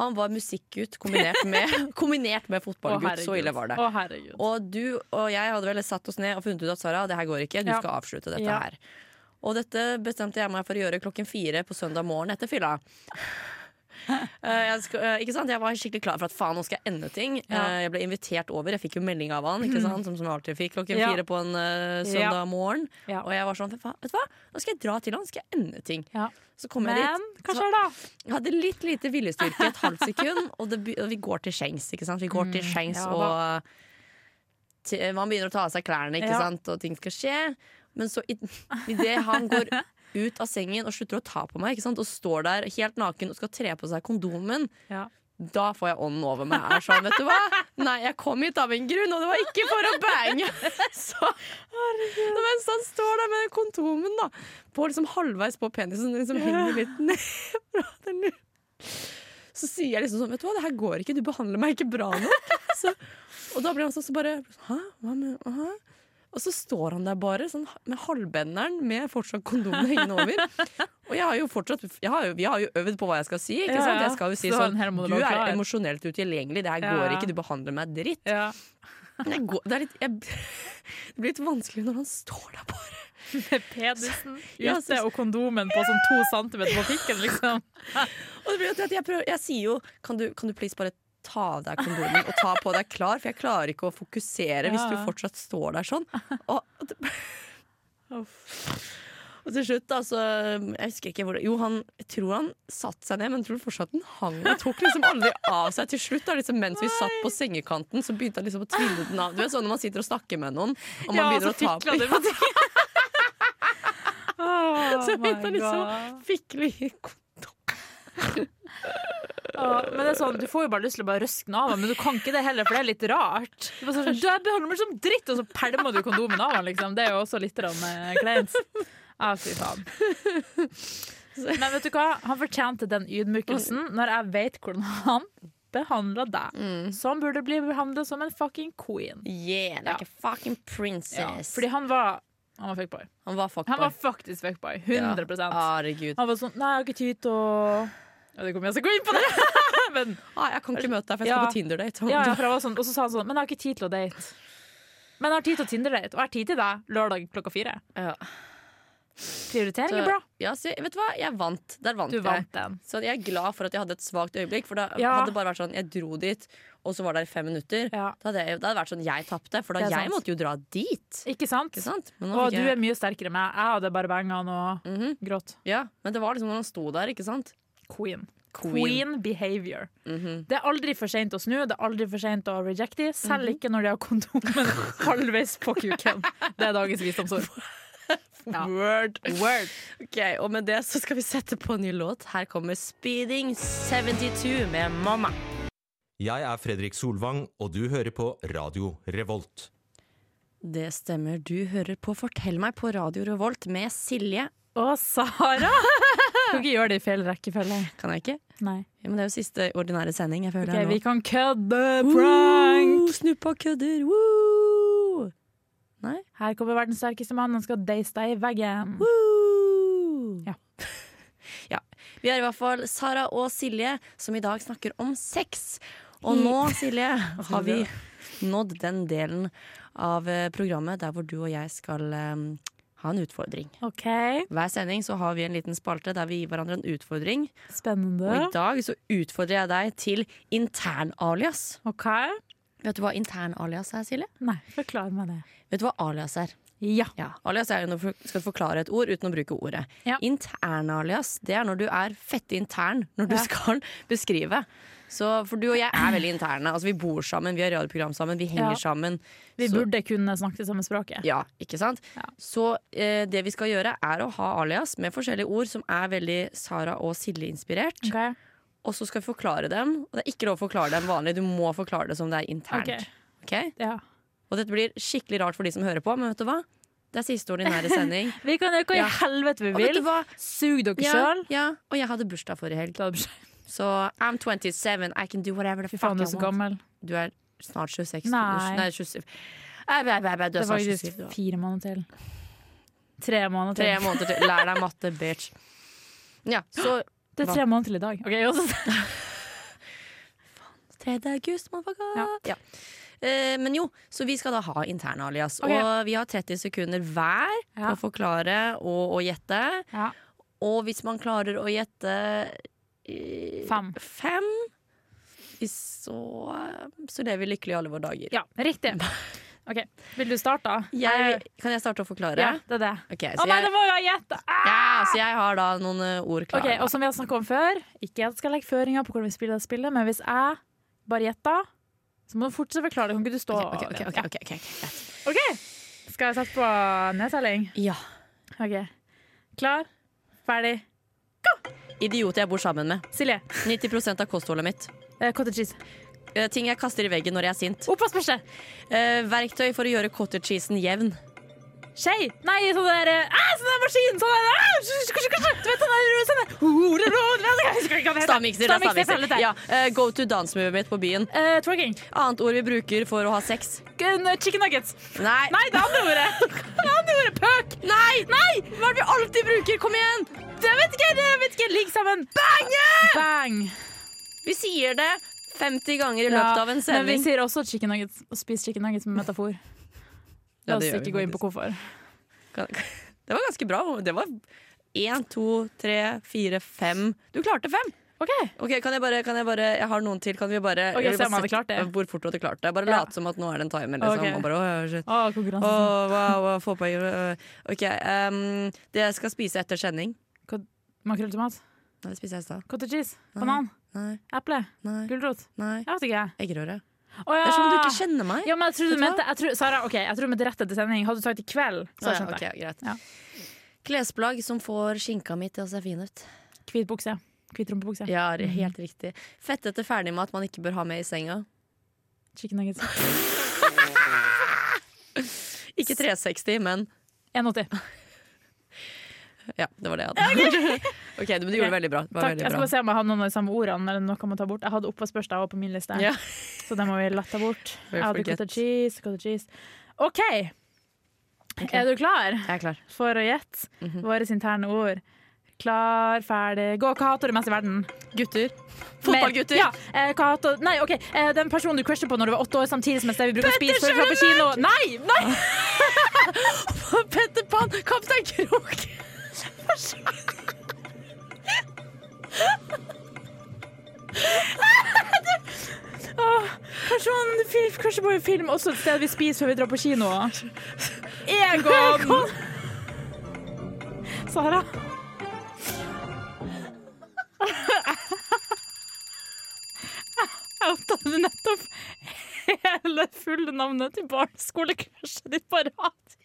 Speaker 1: Han var musikkgutt kombinert med, kombinert med
Speaker 2: Å,
Speaker 1: fotballgutt. Så
Speaker 2: herregud.
Speaker 1: ille var det.
Speaker 2: Å, herregud.
Speaker 1: Og du og jeg hadde vel satt oss ned og funnet ut at Sara, det her går ikke, du
Speaker 2: Ja.
Speaker 1: skal avslutte dette
Speaker 2: Ja.
Speaker 1: her. Og dette bestemte jeg meg for å gjøre klokken fire på søndag morgen etter fylla. Eh, jeg, skal, eh, ikke sant? jeg var skikkelig klar for at faen, nå skal jeg ende ting.
Speaker 2: Ja. Mm.
Speaker 1: Eh, jeg ble invitert over, jeg fikk jo melding av han, ikke sant? som som jeg alltid fikk klokken
Speaker 2: Ja.
Speaker 1: fire på en eh,
Speaker 2: Ja.
Speaker 1: søndag morgen.
Speaker 2: Ja.
Speaker 1: Og jeg var sånn, "Fy faen, vet du hva, nå skal jeg dra til han, skal jeg ende ting.
Speaker 2: Ja.
Speaker 1: Så kom jeg
Speaker 2: Men
Speaker 1: dit.
Speaker 2: hva
Speaker 1: så-
Speaker 2: skjer da?
Speaker 1: jeg hadde litt lite viljestyrke et halvt sekund, og, det, be- og vi går til skjengs. ikke sant? Vi går til skjengs,
Speaker 2: Mm, ja
Speaker 1: og til, man begynner å ta av seg klærne, ikke
Speaker 2: Ja.
Speaker 1: sant? og ting skal skje. Men så idet han går ut av sengen og slutter å ta på meg, ikke sant? og står der helt naken og skal tre på seg kondomen,
Speaker 2: Ja.
Speaker 1: da får jeg ånden over meg. Er sånn, vet du hva? Nei, jeg kom hit av en grunn, og det var ikke for å bange. Så, Nå, mens han står der med kondomen da, på liksom halvveis på penisen, liksom henger litt ned fra den lu- Så sier jeg liksom sånn, vet du hva, det her går ikke, du behandler meg ikke bra nok. Så, og da blir han sånn så bare, hæ, hva med, hæ? Og så står han der bare sånn, med halvbenderen med fortsatt kondomen hengende over. Og jeg har jo fortsatt, jeg har jo, vi har jo øvd på hva jeg skal si, ikke
Speaker 2: Ja,
Speaker 1: sant?
Speaker 2: ja.
Speaker 1: Jeg skal jo si
Speaker 2: Så
Speaker 1: sånn,
Speaker 2: her
Speaker 1: du
Speaker 2: må du være klar.»
Speaker 1: er emosjonelt utilgjengelig, det her
Speaker 2: Ja,
Speaker 1: går
Speaker 2: ja.
Speaker 1: ikke, du behandler meg dritt.
Speaker 2: Ja.
Speaker 1: Men jeg går, det, er litt, jeg, det blir litt vanskelig når han står der bare.
Speaker 2: Med penisen
Speaker 1: Ja,
Speaker 2: ute
Speaker 1: så-
Speaker 2: og kondomen på sånn to centimeter på pikken, liksom.
Speaker 1: Og det blir jo til at jeg, prøver, jeg sier jo kan du, kan du please bare ta av deg kondomen og ta på deg klar, for jeg klarer ikke å fokusere hvis
Speaker 2: Ja.
Speaker 1: du fortsatt står der sånn. Og, og, det- og til slutt, da, så um, Jeg husker ikke hvor det Jo, han jeg tror han satte seg ned, men jeg tror fortsatt den hang og tok liksom aldri av seg. Til slutt, da, liksom, mens vi satt på sengekanten, så begynte han liksom å tvinne den av. Du vet sånn når man sitter og snakker med noen, og man
Speaker 2: Ja,
Speaker 1: begynner
Speaker 2: så
Speaker 1: å ta på
Speaker 2: fikla det på ting. Oh,
Speaker 1: Så begynte han
Speaker 2: my
Speaker 1: liksom
Speaker 2: God.
Speaker 1: å fikle i kondom.
Speaker 2: Å, men det er sånn, Du får jo bare lyst til å bare røske den av, men du kan ikke det heller, for det er litt rart. Du, bare sånn, du er behandlet meg som dritt, og så pælmer du kondomen av den, liksom. Det er jo også litt rann, eh, kleint. Ja, fy faen. Men vet du hva? Han fortjente den ydmykelsen når jeg vet hvordan han behandla deg. Så han burde bli behandla som en fucking queen.
Speaker 1: Yeah, like
Speaker 2: Ja.
Speaker 1: a fucking
Speaker 2: Ja,
Speaker 1: princess.
Speaker 2: fordi han var Han var fuckboy.
Speaker 1: han var fuckboy.
Speaker 2: Han var faktisk fuckboy. 100
Speaker 1: Herregud.
Speaker 2: Han var sånn Nei, jeg har ikke tid til å ja, Det kommer jeg til å gå inn på, det! men,
Speaker 1: Ah, jeg kan ikke møte deg, for jeg skal
Speaker 2: Ja.
Speaker 1: på Tinder-date.
Speaker 2: ja, ja, for jeg var sånn, og så sa han sånn Men jeg har ikke tid til å date. Men jeg har tid til å Tinder-date, og jeg har tid til deg lørdag klokka fire.
Speaker 1: Ja.
Speaker 2: Prioritering
Speaker 1: Så-
Speaker 2: er bra.
Speaker 1: Ja, så, vet du hva? Jeg vant. Der vant,
Speaker 2: Du
Speaker 1: jeg.
Speaker 2: vant den.
Speaker 1: Så jeg er glad for at jeg hadde et svakt øyeblikk. For da
Speaker 2: Ja.
Speaker 1: hadde det bare vært sånn, jeg dro dit, og så var det i fem minutter.
Speaker 2: Ja.
Speaker 1: Da hadde jeg, det hadde vært sånn, jeg tapte, for da
Speaker 2: Det er
Speaker 1: jeg
Speaker 2: sant.
Speaker 1: måtte jo dra dit.
Speaker 2: Ikke sant?
Speaker 1: Ikke sant? Men, nå
Speaker 2: Og
Speaker 1: fikk
Speaker 2: du
Speaker 1: jeg,
Speaker 2: er mye sterkere enn meg. Jeg hadde bare banga og grått.
Speaker 1: ja, men det var liksom når han sto der, ikke sant?
Speaker 2: Queen.
Speaker 1: Queen.
Speaker 2: Queen, Mhm. behavior. Det er aldri for seint å snu, det er aldri for seint å rejecte, selv ikke når de har kondomen halvveis på kuken. Det er dagens visdomsord. Ja.
Speaker 1: Word. Ok, Og med det så skal vi sette på en ny låt. Her kommer Speeding 72 med Mamma.
Speaker 7: Jeg er Fredrik Solvang, og du hører på Radio Revolt.
Speaker 1: Det stemmer. Du hører på Fortell meg på Radio Revolt med Silje.
Speaker 2: Og Sara! Kan ikke gjøre det i feil rekkefølge.
Speaker 1: Kan jeg ikke?
Speaker 2: Nei.
Speaker 1: Ja, men det er jo siste ordinære sending. Jeg føler
Speaker 2: Ok, vi
Speaker 1: det
Speaker 2: kan kødde
Speaker 1: nå.
Speaker 2: prank!
Speaker 1: Woo, snuppa kødder! Woo!
Speaker 2: Her kommer verdens sterkeste mann, han skal deise deg i veggen.
Speaker 1: Woo!
Speaker 2: Ja.
Speaker 1: ja. Vi er i hvert fall Sara og Silje som i dag snakker om sex. Og nå, Silje, har vi nådd den delen av eh, programmet der hvor du og jeg skal eh, ha en utfordring.
Speaker 2: OK,
Speaker 1: Hver sending så har vi en liten spalte der vi gir hverandre en utfordring. Og i
Speaker 2: spennende.
Speaker 1: dag så utfordrer jeg deg til intern-alias.
Speaker 2: OK.
Speaker 1: Vet du hva intern-alias er, Silje?
Speaker 2: Nei, forklar meg det.
Speaker 1: Vet du hva alias er?
Speaker 2: Ja.
Speaker 1: Ja, Alias er jo når du skal forklare et ord uten å bruke ordet.
Speaker 2: Ja.
Speaker 1: Intern-alias, det er når du er fette intern når du skal beskrive. Så, for du og jeg er veldig interne. Altså, vi bor sammen, vi har radioprogram sammen, vi henger
Speaker 2: Ja.
Speaker 1: sammen.
Speaker 2: Vi
Speaker 1: Så-
Speaker 2: burde kunne snakke det samme språket.
Speaker 1: Ja, ikke sant? Så eh, det vi skal gjøre, er å ha alias med forskjellige ord som er veldig Sara og Silje-inspirert.
Speaker 2: OK.
Speaker 1: Og så skal vi forklare dem. Og det er ikke lov å forklare dem vanlig, du må forklare det som det er internt.
Speaker 2: Ok.
Speaker 1: Ok?
Speaker 2: Ja.
Speaker 1: Og dette blir skikkelig rart for de som hører på, men vet du hva? Det er siste ordinære sending.
Speaker 2: Vi kan gjøre hva i
Speaker 1: Ja.
Speaker 2: helvete vi
Speaker 1: Og vet
Speaker 2: vil.
Speaker 1: du hva?
Speaker 2: Sug dere
Speaker 1: Ja,
Speaker 2: sjøl.
Speaker 1: ja, og jeg hadde bursdag forrige helg. Så I'm 27, I can do whatever the
Speaker 2: Fy
Speaker 1: fuck
Speaker 2: faen, du
Speaker 1: I
Speaker 2: er så
Speaker 1: want.
Speaker 2: gammel.
Speaker 1: Du er snart 26. du-
Speaker 2: Nei.
Speaker 1: Nei 27. Nei, nei, nei, nei, Du
Speaker 2: Det
Speaker 1: er
Speaker 2: er
Speaker 1: snart 27. du
Speaker 2: faktisk
Speaker 1: også.
Speaker 2: fire måneder til. Tre måneder
Speaker 1: Tre
Speaker 2: til.
Speaker 1: måneder til. Lær deg matte, bitch. Ja, så
Speaker 2: Det er tre måneder til i dag. Ok, jeg også-
Speaker 1: 3. august, motherfucker.
Speaker 2: Ja.
Speaker 1: Ja. Eh, men jo, så vi skal da ha interne alias.
Speaker 2: Ok.
Speaker 1: Og vi har 30 sekunder hver på
Speaker 2: Ja.
Speaker 1: å forklare og, og gjette.
Speaker 2: Ja.
Speaker 1: Og hvis man klarer å gjette eh,
Speaker 2: Fem.
Speaker 1: fem så, så lever vi lykkelig alle våre dager.
Speaker 2: ja, riktig. Ok, Vil du starte, da?
Speaker 1: Jeg, kan jeg starte å forklare?
Speaker 2: Ja, det er det.
Speaker 1: Ok,
Speaker 2: Å
Speaker 1: så,
Speaker 2: nei, det
Speaker 1: jeg,
Speaker 2: må jo ha gjett! Ah!
Speaker 1: ja, så jeg har da noen eh, ord
Speaker 2: Ok,
Speaker 1: klare.
Speaker 2: og som vi har snakket om før, ikke at jeg skal legge føringer på hvordan vi spiller det spillet, men hvis jeg bare gjetter, så må du fortsatt forklare det. Kan ikke du stå
Speaker 1: Ok, ok, ok, ok, ok, ok, greit.
Speaker 2: Ja. Ok. Skal jeg sette på nedtelling?
Speaker 1: Ja.
Speaker 2: Ok. Klar, ferdig.
Speaker 1: Idioter jeg bor sammen med.
Speaker 2: Silje,
Speaker 1: 90 av kostholdet mitt.
Speaker 2: eh, cottage cheese.
Speaker 1: Eh, Ting jeg kaster i veggen når jeg er sint.
Speaker 2: Oppvaskbørste!
Speaker 1: Eh, verktøy for å gjøre cottage cheesen jevn.
Speaker 2: Skje! Nei, sånn der eh, ah, Sånn der maskin! Sånn der ah, sh- sh- sh- sh- Du vet sånn der sånn der, oh, det er noe- det er- jeg husker ikke hva
Speaker 1: Stavmikser.
Speaker 2: det heter.
Speaker 1: det er
Speaker 2: Stavmikser,
Speaker 1: stavmikser.
Speaker 2: helvete.
Speaker 1: Ja, eh, go to dansemovet mitt på byen.
Speaker 2: Eh, twerking.
Speaker 1: Annet ord vi bruker for å ha sex.
Speaker 2: Gun- Chicken nuggets.
Speaker 1: Nei!
Speaker 2: Nei, det andre ordet. Det andre ordet. Pøk.
Speaker 1: Nei! Hva er det vi alltid bruker? Kom igjen!
Speaker 2: Det vet ikke, det vet ikke. Ligg sammen. Bange! Bang.
Speaker 1: Vi sier det 50 ganger i løpet av en
Speaker 2: Men vi
Speaker 1: sending.
Speaker 2: sier også chicken nuggets og spis chicken nuggets med metafor.
Speaker 1: Ja,
Speaker 2: La oss
Speaker 1: det gjør vi
Speaker 2: ikke gå inn på
Speaker 1: faktisk.
Speaker 2: hvorfor.
Speaker 1: Det var ganske bra. Det var én, to, tre, fire, fem. Du klarte fem!
Speaker 2: Ok,
Speaker 1: Ok, kan jeg, bare, kan jeg bare Jeg har noen til. Kan vi bare
Speaker 2: Ok,
Speaker 1: jeg vil
Speaker 2: se om
Speaker 1: bare
Speaker 2: jeg hadde
Speaker 1: sette-
Speaker 2: klart det.
Speaker 1: Hvor fort du hadde klart det. Bare
Speaker 2: Ja.
Speaker 1: lat som at nå er det en timer, liksom.
Speaker 2: Ok.
Speaker 1: Og bare, «Åh, shit.
Speaker 2: å, konkurransen.
Speaker 1: Åh, wow, wow, få poeng. øh, Ok, ehm, det jeg skal spise etter sending
Speaker 2: Makrell i tomat.
Speaker 1: Nei, det spiser jeg i stad.
Speaker 2: Cottage cheese. Banan.
Speaker 1: Nei,
Speaker 2: Eple.
Speaker 1: nei,
Speaker 2: Gulrot.
Speaker 1: nei.
Speaker 2: Jeg vet ikke.
Speaker 1: Eggerøre.
Speaker 2: Å, ja.
Speaker 1: Det er som om du ikke kjenner meg.
Speaker 2: ja, men jeg trodde
Speaker 1: Vet
Speaker 2: du
Speaker 1: du
Speaker 2: mente jeg tror, Sara, ok, jeg tror du mente rett etter sending. Hadde du sagt i kveld, så
Speaker 1: Å, ja,
Speaker 2: skjønte jeg.
Speaker 1: ok, greit.
Speaker 2: Ja.
Speaker 1: Klesplagg som får skinka mi til å se fin ut.
Speaker 2: Hvit bukse. Hvit rumpebukse.
Speaker 1: Ja, det er helt riktig. Fettete ferdigmat man ikke bør ha med i senga.
Speaker 2: Chicken nuggets.
Speaker 1: Ikke 360, men
Speaker 2: 1,80.
Speaker 1: Ja, det var det jeg hadde. Ok, du- men du gjorde det veldig bra. Det var
Speaker 2: Takk. Jeg
Speaker 1: veldig
Speaker 2: skal
Speaker 1: bra.
Speaker 2: bare se om jeg har noen av de samme ordene eller noe jeg må ta bort. Jeg hadde oppvaskbørsta også på min liste.
Speaker 1: Ja.
Speaker 2: Så det må vi lette bort.
Speaker 1: We
Speaker 2: Jeg hadde
Speaker 1: forget.
Speaker 2: cottage cheese, cottage cheese. OK. Er du klar
Speaker 1: Jeg er klar.
Speaker 2: for å gjette
Speaker 1: Mhm.
Speaker 2: våre interne ord? Klar, ferdig, gå. Hva hater du mest i verden?
Speaker 1: Gutter. Fotballgutter.
Speaker 2: Mer. Ja. Eh, hva hater Nei, OK. Eh, den personen du crusher på når du var åtte år, samtidig som et sted vi bruker å spise før vi drar på kino. Nei! nei!
Speaker 1: Petter Pan! Kaptein Krok!
Speaker 2: Åh, personen du fil- crusher på i film, også et sted vi spiser før vi drar på kino. Egon! Sara. Outa du nettopp hele fulle navnet til barneskolecrushet ditt på rad?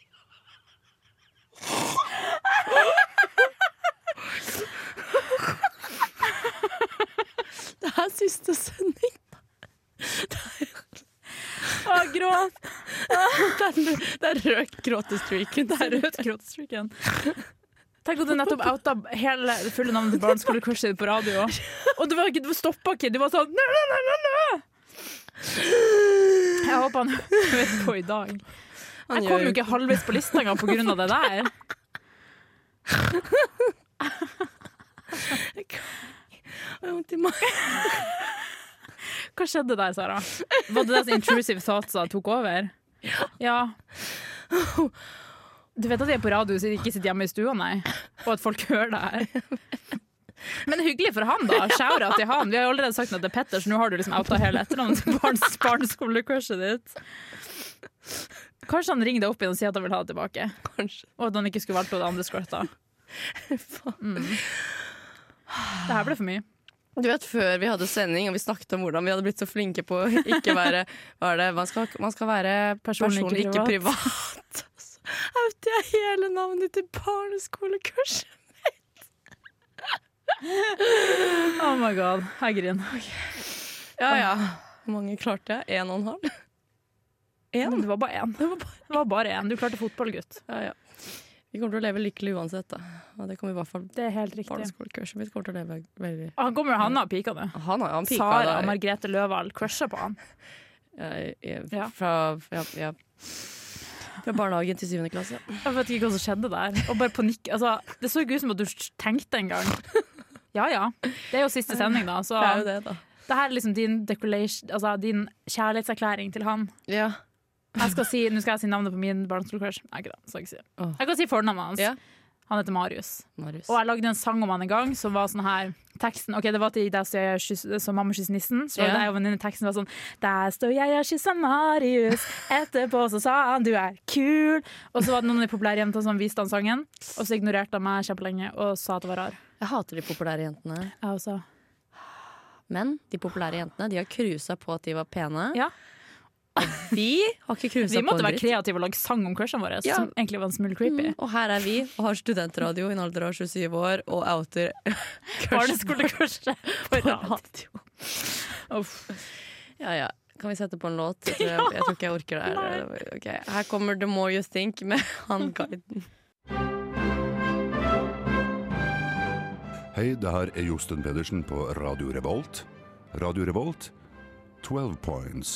Speaker 1: Det er siste sending.
Speaker 2: Å, gråt.
Speaker 1: Det er rød gråtestreaken. Det er rød
Speaker 2: Gråtstryken. Tenk at du nettopp outa hele det fulle navnet til barneskolecrushet ditt på radio. Og du, var ikke, du stoppa ikke. Du var sånn nei, nei, nei, nei, nei. Jeg håper han hører på i dag. Jeg kom jo ikke halvveis på lista engang på grunn av det der. Hva skjedde der, Sara? Var det deres intrusive thoughtsa tok over? Ja. Du vet at jeg er på radio så jeg ikke sitter hjemme i stua, nei? Og at folk hører det her. Men hyggelig for han, da. Shoura til han. Vi har jo allerede sagt at det er Petter, så nå har du liksom outa hele etternavnet til barns barneskolecrushet ditt. Kanskje han ringer deg opp igjen og sier at han vil ha det tilbake,
Speaker 1: Kanskje.
Speaker 2: og at han ikke skulle valgt på det andre skvørta. Mm. Det her ble for mye.
Speaker 1: Du vet, Før vi hadde sending og vi snakket om hvordan vi hadde blitt så flinke på å ikke være hva er det, man, skal, man skal være person,
Speaker 2: Personlig ikke
Speaker 1: ikke privat. Så outet jeg hele navnet til barneskolekurset.
Speaker 2: Oh my god, jeg griner. Ja ja.
Speaker 1: Hvor mange klarte jeg? Én og en halv?
Speaker 2: Men
Speaker 1: Én?
Speaker 2: Det var bare én. Det var bare én. Du klarte fotball, gutt.
Speaker 1: Ja, ja. Vi kommer til å leve lykkelig uansett, da. Og det kommer i hvert fall
Speaker 2: Det er helt
Speaker 1: barneskolekurset mitt kommer til å leve veldig
Speaker 2: Han kommer med Hanna og pika nå.
Speaker 1: Han har han pika
Speaker 2: Sara og
Speaker 1: da.
Speaker 2: Margrethe Løvahl crusher på han.
Speaker 1: Jeg- jeg-
Speaker 2: Ja.
Speaker 1: Fra, ja, ja. fra barnehagen til syvende klasse.
Speaker 2: Jeg vet ikke hva som skjedde der. Og bare panikk. Altså, det så ikke ut som at du tenkte en gang. Ja ja. Det er jo siste sending, da. Så
Speaker 1: Det er jo det, da.
Speaker 2: det her er liksom din, decollage- altså, din kjærlighetserklæring til han.
Speaker 1: Ja.
Speaker 2: Jeg skal si, nå skal jeg si navnet på min barneskolecrush. Nei, ikke det. Skal jeg ikke si. det.
Speaker 1: Åh.
Speaker 2: Jeg kan si fornavnet hans.
Speaker 1: Ja.
Speaker 2: Han heter Marius.
Speaker 1: Marius.
Speaker 2: Og jeg lagde en sang om han en gang som var sånn her Teksten, ok, det var til deg som jeg kyss- som mamma kysser nissen. Så var det
Speaker 1: Ja.
Speaker 2: jeg og venninnen teksten var sånn Der står jeg og kysser Marius, etterpå så sa han du er kul. Og så var det noen av de populære jentene som viste han sangen, og så ignorerte han meg kjempelenge og sa at det var rar.
Speaker 1: Jeg hater de populære jentene.
Speaker 2: Jeg også.
Speaker 1: Men de populære jentene de har cruisa på at de var pene.
Speaker 2: Ja.
Speaker 1: Vi har ikke cruisa
Speaker 2: Vi
Speaker 1: på
Speaker 2: måtte
Speaker 1: en
Speaker 2: være
Speaker 1: dritt.
Speaker 2: kreative og lage sang om crushene våre,
Speaker 1: Ja. Mm,
Speaker 2: som egentlig var en smule creepy.
Speaker 1: Og her er vi og har studentradio i en alder av 27 år og outer
Speaker 2: Barneskolecrushet på rad.
Speaker 1: radio.
Speaker 2: Uff.
Speaker 1: Ja, ja. Kan vi sette på en låt? Jeg tror, jeg, jeg, tror ikke jeg orker det her. Ok, Her kommer The More You Think med han guiden.
Speaker 8: Hei, det her er Josten Pedersen på Radio Revolt. Radio Revolt, 12 points.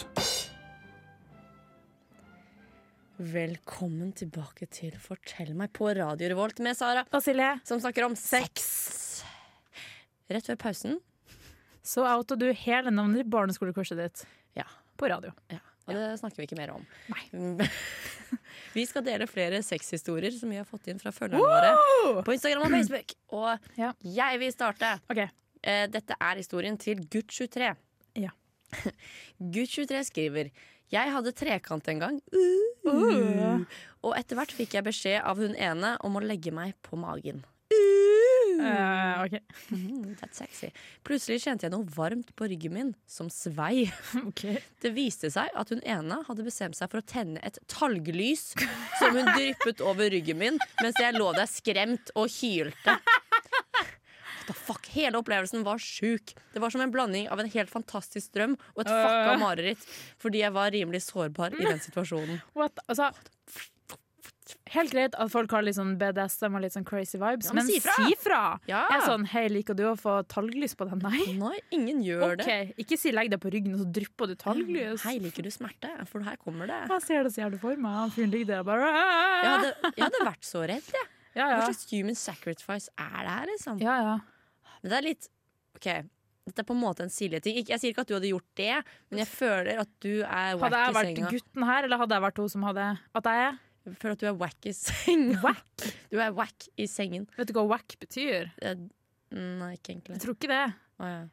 Speaker 1: Velkommen tilbake til Fortell meg på Radio Revolt med Sara,
Speaker 2: Og Silje,
Speaker 1: som snakker om sex. Rett før pausen.
Speaker 2: så outa du hele navnet ditt barneskolecrushet ditt
Speaker 1: Ja.
Speaker 2: på radio.
Speaker 1: Ja, og det snakker vi ikke mer om.
Speaker 2: Nei.
Speaker 1: vi skal dele flere sexhistorier som vi har fått inn fra følgerne våre på Instagram og Facebook. Og
Speaker 2: Ja.
Speaker 1: jeg vil starte.
Speaker 2: Ok.
Speaker 1: Eh, Dette er historien til gutt 23.
Speaker 2: Ja.
Speaker 1: gutt 23 skriver Jeg hadde trekant en gang, Uh. og etter hvert fikk jeg beskjed av hun ene om å legge meg på magen.
Speaker 2: Eh, ok.
Speaker 1: Mm, that's sexy. Plutselig kjente jeg noe varmt på ryggen min, som svei.
Speaker 2: Ok.
Speaker 1: Det viste seg at hun ene hadde bestemt seg for å tenne et talglys som hun dryppet over ryggen min mens jeg lå der skremt og hylte. What the fuck? Hele opplevelsen var sjuk. Det var som en blanding av en helt fantastisk drøm og et fucka
Speaker 2: Øh.
Speaker 1: mareritt, fordi jeg var rimelig sårbar i den situasjonen.
Speaker 2: What? Altså, helt greit at folk har litt sånn BDSM og litt sånn crazy vibes,
Speaker 1: Ja, men
Speaker 2: men,
Speaker 1: si
Speaker 2: si
Speaker 1: fra!
Speaker 2: fra!
Speaker 1: Ja.
Speaker 2: Jeg er sånn, hei, liker du å få talglys på den? Nei.
Speaker 1: Nei, ingen gjør
Speaker 2: Ok, Ikke si legg deg på ryggen, og så drypper du
Speaker 1: det.
Speaker 2: talglys.
Speaker 1: Hei, liker du smerte? For her kommer det.
Speaker 2: Jeg ser det så jævlig for meg. Han fyren ligger der og bare
Speaker 1: Jeg hadde, jeg hadde vært så redd, jeg.
Speaker 2: Ja,
Speaker 1: Hva
Speaker 2: ja.
Speaker 1: slags human sacrifice er det her, liksom?
Speaker 2: ja, ja.
Speaker 1: Men det er litt OK. Dette er på en måte en Silje-ting. Ikke- Jeg sier ikke at du hadde gjort det, men jeg føler at du er wack
Speaker 2: Hadde
Speaker 1: i
Speaker 2: jeg vært
Speaker 1: senga.
Speaker 2: gutten her, eller hadde jeg vært hun som hadde At jeg er
Speaker 1: Jeg føler at du er wack i senga. Du er wack i sengen.
Speaker 2: Vet du hva wack betyr?
Speaker 1: Eh, Nei, ikke
Speaker 2: Jeg
Speaker 1: egentlig.
Speaker 2: tror ikke det.
Speaker 1: Å, ja.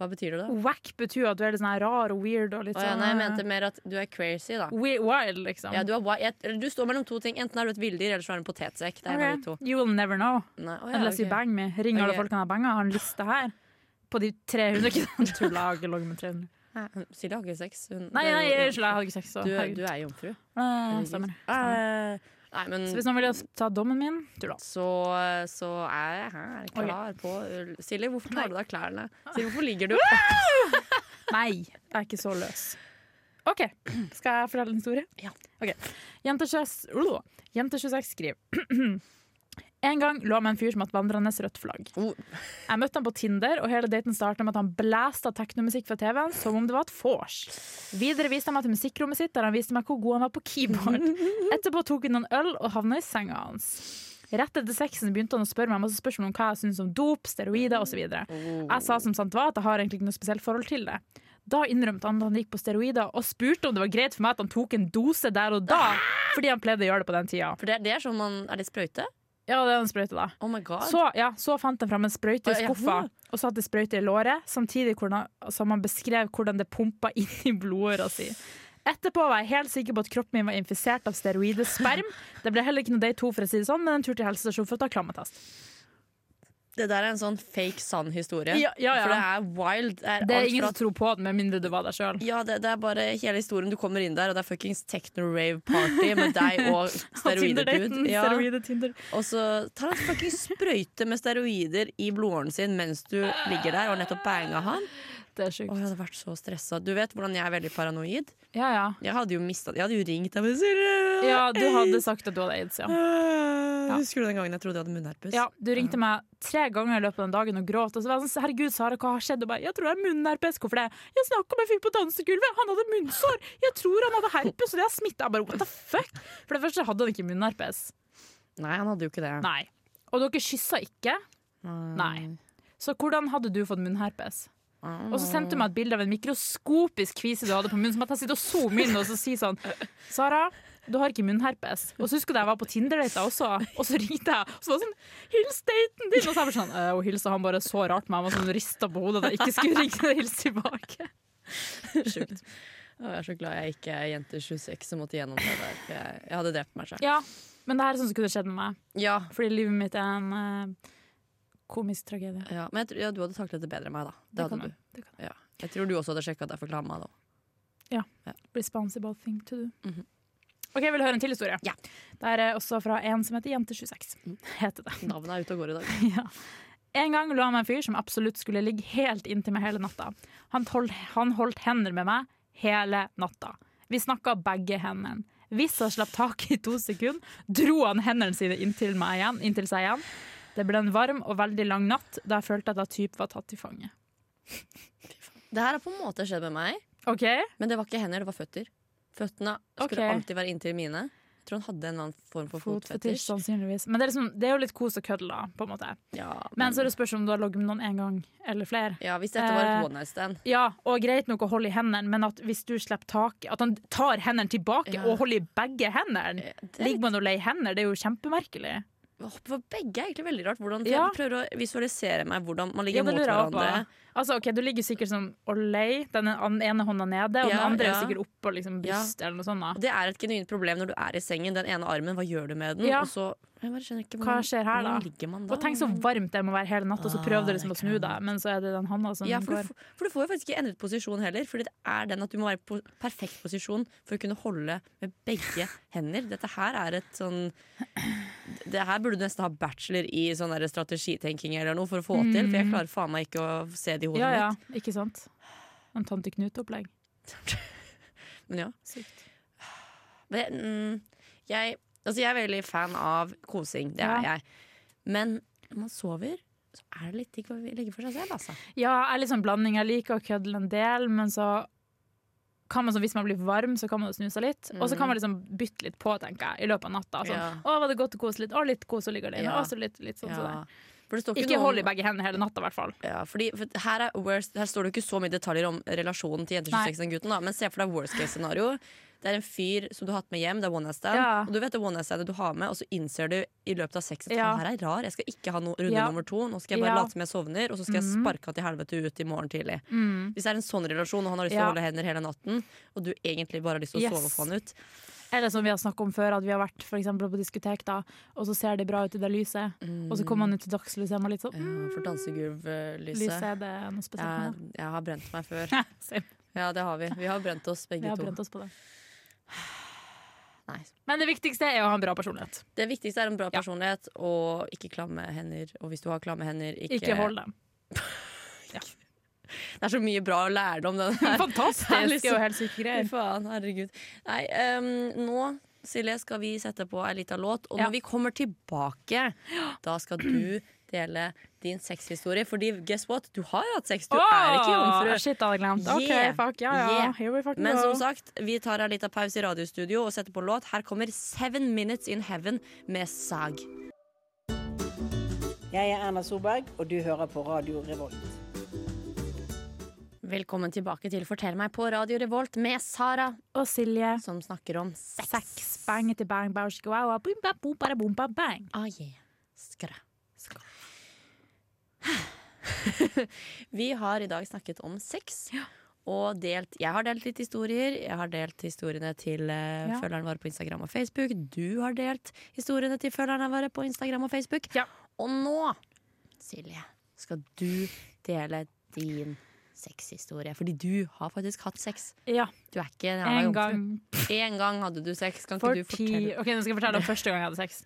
Speaker 1: Hva betyr det, da?
Speaker 2: Wack betyr at du er litt sånn her rar og weird og litt
Speaker 1: Å, ja,
Speaker 2: sånn
Speaker 1: nei, jeg mente mer at du er crazy, da.
Speaker 2: we wild, liksom.
Speaker 1: Ja, du, er wa- jeg, eller du står mellom to ting. Enten er du et villdyr, eller så er du en potetsekk. Det er en av de to.
Speaker 2: Ok. You will never know.
Speaker 1: Nei, å, ja,
Speaker 2: Unless you
Speaker 1: ok.
Speaker 2: bang me. Ring alle
Speaker 1: Ok.
Speaker 2: folkene jeg banga. Har en liste her. På de 300 kronene. Tulla, jeg har ikke ligget med 300.
Speaker 1: Nei, Silje har ikke sex. Hun,
Speaker 2: Nei,
Speaker 1: det er
Speaker 2: nei,
Speaker 1: jo-
Speaker 2: unnskyld, jeg hadde ikke sex. Så,
Speaker 1: du, er-
Speaker 2: herregud.
Speaker 1: du er jomfru.
Speaker 2: Eh, stemmer.
Speaker 1: Eh, Nei, men
Speaker 2: så hvis noen vil ta dommen min, tulla.
Speaker 1: så, så er jeg her klar på ull. Silje, hvorfor tar du av deg klærne?
Speaker 2: Ah.
Speaker 1: Silje, hvorfor ligger du
Speaker 2: Nei, jeg er ikke så løs. OK, skal jeg fortelle en historie?
Speaker 1: Ja.
Speaker 2: Ok. Jente 26, uh, jente 26 skriver En gang lå jeg med en fyr som hadde vandrende rødt flagg.
Speaker 1: Oh.
Speaker 2: Jeg møtte han på Tinder, og hele daten starta med at han blæsta teknomusikk fra TV-en som om det var et vors. Videre viste han meg til musikkrommet sitt, der han viste meg hvor god han var på keyboard. Etterpå tok vi noen øl og havna i senga hans. Rett etter sexen begynte han å spørre meg masse spørsmål om hva jeg syntes om dop, steroider osv. Jeg sa som sant var at jeg har egentlig ikke noe spesielt forhold til det. Da innrømte han at han gikk på steroider, og spurte om det var greit for meg at han tok en dose der og da. Fordi han pleide å gjøre det på den tida.
Speaker 1: For det, det er sånn man Er det sprøyte?
Speaker 2: Ja, det er en sprøyte da.
Speaker 1: Oh my god.
Speaker 2: Så, ja, så fant han fram en sprøyte
Speaker 1: Å,
Speaker 2: i
Speaker 1: ja.
Speaker 2: skuffa, og satte sprøyte i låret, samtidig hvordan, som han beskrev hvordan det pumpa inn i blodåra si. Etterpå var jeg helt sikker på at kroppen min var infisert av steroidesperm. Det ble heller ikke noe day to, for å si det sånn, men en tur til helsestasjonen for å ta klammetest.
Speaker 1: Det der er en sånn fake sann historie.
Speaker 2: Ja, ja, ja.
Speaker 1: For det er wild. Det er,
Speaker 2: Det er
Speaker 1: alt
Speaker 2: ingen
Speaker 1: fra
Speaker 2: som tror på det, med mindre du var der sjøl.
Speaker 1: ja, det, det er bare hele historien. Du kommer inn der, og det er fuckings techno-rave-party med deg og steroider-dude. Ja. Og så tar han fuckings sprøyte med steroider i blodåren sin mens du ligger der og har nettopp banga han.
Speaker 2: Det er
Speaker 1: Å,
Speaker 2: sjukt.
Speaker 1: jeg hadde vært så stressa. Du vet hvordan jeg er veldig paranoid?
Speaker 2: Ja, ja.
Speaker 1: Jeg hadde jo mistet, Jeg hadde jo ringt deg. men Siri,
Speaker 2: ja, du hadde
Speaker 1: aids.
Speaker 2: sagt at du hadde aids, ja.
Speaker 1: Øh, Husker du den gangen jeg trodde jeg hadde munnherpes?
Speaker 2: Ja, du ringte meg tre ganger i løpet av den dagen og gråt. Og så var jeg sånn, herregud, Sara, hva har skjedd? Og bare, jeg tror det er munnherpes. Hvorfor det? Jeg snakket med en fyr på dansegulvet, han hadde munnsår. Jeg tror han hadde herpes, og det har smittet. Jeg bare, what the fuck? For det første hadde han ikke munnherpes.
Speaker 1: Nei, han hadde jo ikke det.
Speaker 2: Nei. Og dere kysset ikke? Nei. Så hvordan hadde du fått munnherpes? Og så sendte du meg et bilde av en mikroskopisk kvise du hadde på munnen. Som at jeg sitter og zoomer inn og så sier sånn Sara, du har ikke munnherpes. Og så husker du jeg var på Tinder-data også, og så ringte jeg. Og så var det sånn Hils daten din! Og så er jeg bare sånn «Eh, Og hilsa han bare så rart meg, og sånn rista på hodet at jeg ikke skulle ringe og hilse tilbake.
Speaker 1: Sjukt. Å, Jeg er så glad jeg ikke er jente 26 som måtte gjennom det der. for Jeg, jeg hadde drept meg selv.
Speaker 2: Ja, men det her er sånn som kunne skjedd med meg.
Speaker 1: Ja.
Speaker 2: Fordi livet mitt er en eh, komisk tragedie.
Speaker 1: ja, Men jeg, tror- ja, du hadde taklet det bedre enn meg, da. Det
Speaker 2: kan
Speaker 1: hadde
Speaker 2: jeg.
Speaker 1: du. Ja. Jeg tror du også hadde sjekka deg for klamma. da.
Speaker 2: Responsible thing to do. OK, jeg vil høre en til historie.
Speaker 1: Ja.
Speaker 2: Det her er også fra en som heter Jente26. Heter det.
Speaker 1: Navnet er ute og går i dag.
Speaker 2: Ja. En gang lå jeg med en fyr som absolutt skulle ligge helt inntil meg hele natta. Han, tol- han holdt hender med meg hele natta. Vi snakka begge hendene. Hvis han slapp taket i to sekunder, dro han hendene sine inntil, meg igjen, inntil seg igjen. Det ble en varm og veldig lang natt da jeg følte at jeg typ var tatt i fanget.
Speaker 1: Det her har på en måte skjedd med meg,
Speaker 2: OK?
Speaker 1: men det var ikke hender, det var føtter. Føttene skulle
Speaker 2: Ok.
Speaker 1: alltid være inntil mine. Jeg tror han hadde en eller annen form for
Speaker 2: Fotfetisj,
Speaker 1: fotfetisj.
Speaker 2: sannsynligvis. Men det er, liksom, det er jo litt kos og kødd, da. På en måte.
Speaker 1: Ja,
Speaker 2: Men
Speaker 1: men,
Speaker 2: så er det spørs om du har ligget med noen én gang eller flere.
Speaker 1: ja, hvis dette var et
Speaker 2: Eh,
Speaker 1: one night stand.
Speaker 2: Ja, og greit nok å holde i hendene, men at hvis du slipper tak At han tar hendene tilbake
Speaker 1: Ja.
Speaker 2: og holder i begge hendene!
Speaker 1: Eh, Det er litt-
Speaker 2: Ligger man og leier hender? Det er jo kjempemerkelig.
Speaker 1: For begge er egentlig veldig rart. Hvordan, for
Speaker 2: Ja.
Speaker 1: Jeg prøver å visualisere meg hvordan man ligger
Speaker 2: Ja, det
Speaker 1: mot
Speaker 2: lurer jeg også
Speaker 1: hverandre.
Speaker 2: på. Altså, ok, Du ligger sikkert sånn og leier, den an- ene hånda nede, og den
Speaker 1: Ja,
Speaker 2: andre
Speaker 1: ja.
Speaker 2: er sikkert oppå liksom,
Speaker 1: Ja.
Speaker 2: brystet eller noe sånt. da
Speaker 1: Det er et genuint problem når du er i sengen. Den ene armen, hva gjør du med den?
Speaker 2: Ja.
Speaker 1: Og så, jeg bare skjønner ikke,
Speaker 2: Hva skjer her, da?
Speaker 1: hvordan ligger man da?
Speaker 2: Og tenk så varmt det må være hele natta, og så
Speaker 1: Ah,
Speaker 2: prøver du
Speaker 1: det
Speaker 2: liksom å
Speaker 1: kan
Speaker 2: snu deg, men så er det den handa som
Speaker 1: ja, for, du,
Speaker 2: går.
Speaker 1: f- for du får jo faktisk ikke endret posisjon heller. Fordi det er den at du må være i po- perfekt posisjon for å kunne holde med begge hender. Dette her er et sånn Det her burde du nesten ha bachelor i sånn der strategitenking eller noe for å få til. For jeg klarer faen meg ikke å se det i hodet
Speaker 2: Mm. Ja, ja,
Speaker 1: mitt.
Speaker 2: ikke sant? En Tante Knut-opplegg.
Speaker 1: Men ja.
Speaker 2: Sykt.
Speaker 1: Det, mm, jeg, altså jeg er veldig fan av kosing, det er
Speaker 2: Ja.
Speaker 1: jeg. Men når man sover, så er det litt digg å ligge for seg selv, altså.
Speaker 2: Ja, jeg er litt sånn blanding. Jeg liker å kødle en del, men så kan man, så hvis man blir varm, så kan man jo snu seg litt. Og så kan man liksom bytte litt på, tenker jeg, i løpet av natta. Sånn,
Speaker 1: Mm. Ja.
Speaker 2: Å, var det godt å kose litt? Å, litt kos og ligge alene.
Speaker 1: Ja.
Speaker 2: Og så litt, litt sånn som det.
Speaker 1: For det står
Speaker 2: Ikke
Speaker 1: noe om-
Speaker 2: hold i begge hendene hele natta, i hvert fall.
Speaker 1: Ja, fordi, for her, er worst, her står det jo ikke så mye detaljer om relasjonen til jenter 26 den gutten, da, men se for deg worst case scenario. Det er en fyr som du har hatt med hjem, det er one night stand.
Speaker 2: Ja.
Speaker 1: Og du vet det one night standet du har med, og så innser du i løpet av sexen at
Speaker 2: Ja.
Speaker 1: han her er rar, jeg skal ikke ha no runde
Speaker 2: Ja.
Speaker 1: nummer to, nå skal jeg bare
Speaker 2: Ja. Mm.
Speaker 1: late som jeg sovner, og så skal jeg sparke han til helvete ut i morgen tidlig. Hvis det er en sånn relasjon, og han har lyst til
Speaker 2: Ja.
Speaker 1: å holde hender hele natten, og du egentlig bare har lyst til å
Speaker 2: Yes.
Speaker 1: sove og få han ut,
Speaker 2: Eller som vi har snakket om før, at vi har vært for eksempel, på diskotek, da, og så ser det bra ut i det lyset. Og så kommer man ut i dagslyset, og man er litt sånn
Speaker 1: Mm. ja,
Speaker 2: mm,
Speaker 1: eh, for dansegulvlyset
Speaker 2: Lyset, er det noe
Speaker 1: ja,
Speaker 2: spesielt med
Speaker 1: Jeg har brent meg før.
Speaker 2: det? Same.
Speaker 1: Ja, det har vi. Vi har brent oss
Speaker 2: Vi
Speaker 1: begge
Speaker 2: har
Speaker 1: to.
Speaker 2: brent oss på det.
Speaker 1: Nei.
Speaker 2: Men det viktigste er å ha en bra personlighet.
Speaker 1: Det viktigste er en bra
Speaker 2: Ja.
Speaker 1: personlighet og ikke klamme hender. Og hvis du har klamme hender, ikke,
Speaker 2: Ikke hold dem.
Speaker 1: Det er så mye bra lærdom, den her. Det er
Speaker 2: Fantastisk
Speaker 1: liksom-
Speaker 2: og helt syke
Speaker 1: Fy
Speaker 2: greier.
Speaker 1: faen, herregud. Nei, ehm, nå Silje, skal vi sette på ei lita låt. Og
Speaker 2: Ja.
Speaker 1: når vi kommer tilbake, da skal du dele din sexhistorie. Fordi guess what? Du har hatt sex, du er ikke jomfru.
Speaker 2: Åh, Ah, Shit, hadde jeg glemt. OK,
Speaker 1: Yeah.
Speaker 2: fuck, ja, ja.
Speaker 1: Yeah.
Speaker 2: Here we fucking
Speaker 1: Men
Speaker 2: go.
Speaker 1: som sagt, vi tar en liten pause i radiostudio og setter på låt. Her kommer Seven Minutes In Heaven med Sag.
Speaker 9: Jeg er Erna Solberg, og du hører på Radio Revolt.
Speaker 1: Velkommen tilbake til Fortell meg på Radio Revolt med Sara,
Speaker 2: Og Silje.
Speaker 1: som snakker om sex.
Speaker 2: Sex, bang etter bang, bang, wow, boom, ba, boom, ba, boom, ba, bang.
Speaker 1: Ah, yeah. Skra. Skra. Vi har i dag snakket om sex. Og delt, jeg har delt litt historier. Jeg har delt historiene til eh,
Speaker 2: Ja.
Speaker 1: følgerne våre på Instagram og Facebook. Du har delt historiene til følgerne våre på Instagram og Facebook.
Speaker 2: Ja.
Speaker 1: Og nå, Silje, skal du dele din sexhistorie. Fordi du har faktisk hatt sex.
Speaker 2: Ja,
Speaker 1: Du er ikke en
Speaker 2: en
Speaker 1: jævla
Speaker 2: gang
Speaker 1: jomfru. En gang hadde du sex. Kan
Speaker 2: for
Speaker 1: ikke du
Speaker 2: ti
Speaker 1: fortelle?
Speaker 2: Ok, nå skal jeg fortelle om første gang jeg hadde sex.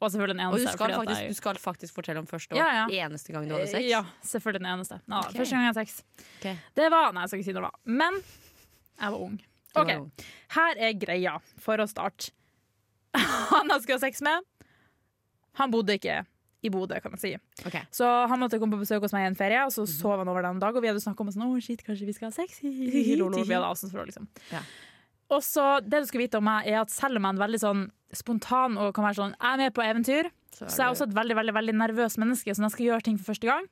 Speaker 2: Og selvfølgelig den
Speaker 1: Og du
Speaker 2: eneste.
Speaker 1: skal,
Speaker 2: fordi at
Speaker 1: faktisk,
Speaker 2: jeg-
Speaker 1: du skal faktisk fortelle om første år.
Speaker 2: Ja, ja.
Speaker 1: Eneste gang du hadde sex.
Speaker 2: Ja, selvfølgelig den eneste. Nå,
Speaker 1: Ok.
Speaker 2: Første gang jeg hadde sex.
Speaker 1: Ok.
Speaker 2: Det var Nei, jeg skal ikke si når det var. Men jeg var ung.
Speaker 1: var
Speaker 2: Ok,
Speaker 1: ung.
Speaker 2: Her er greia, for å starte. Han jeg skulle ha sex med, han bodde ikke i Bodø, kan man si.
Speaker 1: Ok.
Speaker 2: Så han måtte komme på besøk hos meg i en ferie, og så sov han over den dag, og vi hadde snakket om sånn, «Åh, shit, kanskje vi skal ha sex. Lolo, vi hadde avstandsforhold, liksom.
Speaker 1: Ja.
Speaker 2: Og så, det du skal vite om meg, er at selv om jeg er en veldig sånn spontan og kan være sånn, jeg er med på eventyr, så,
Speaker 1: er
Speaker 2: er jeg
Speaker 1: du-
Speaker 2: også et veldig, veldig, veldig nervøs menneske, så når jeg skal gjøre ting for første gang,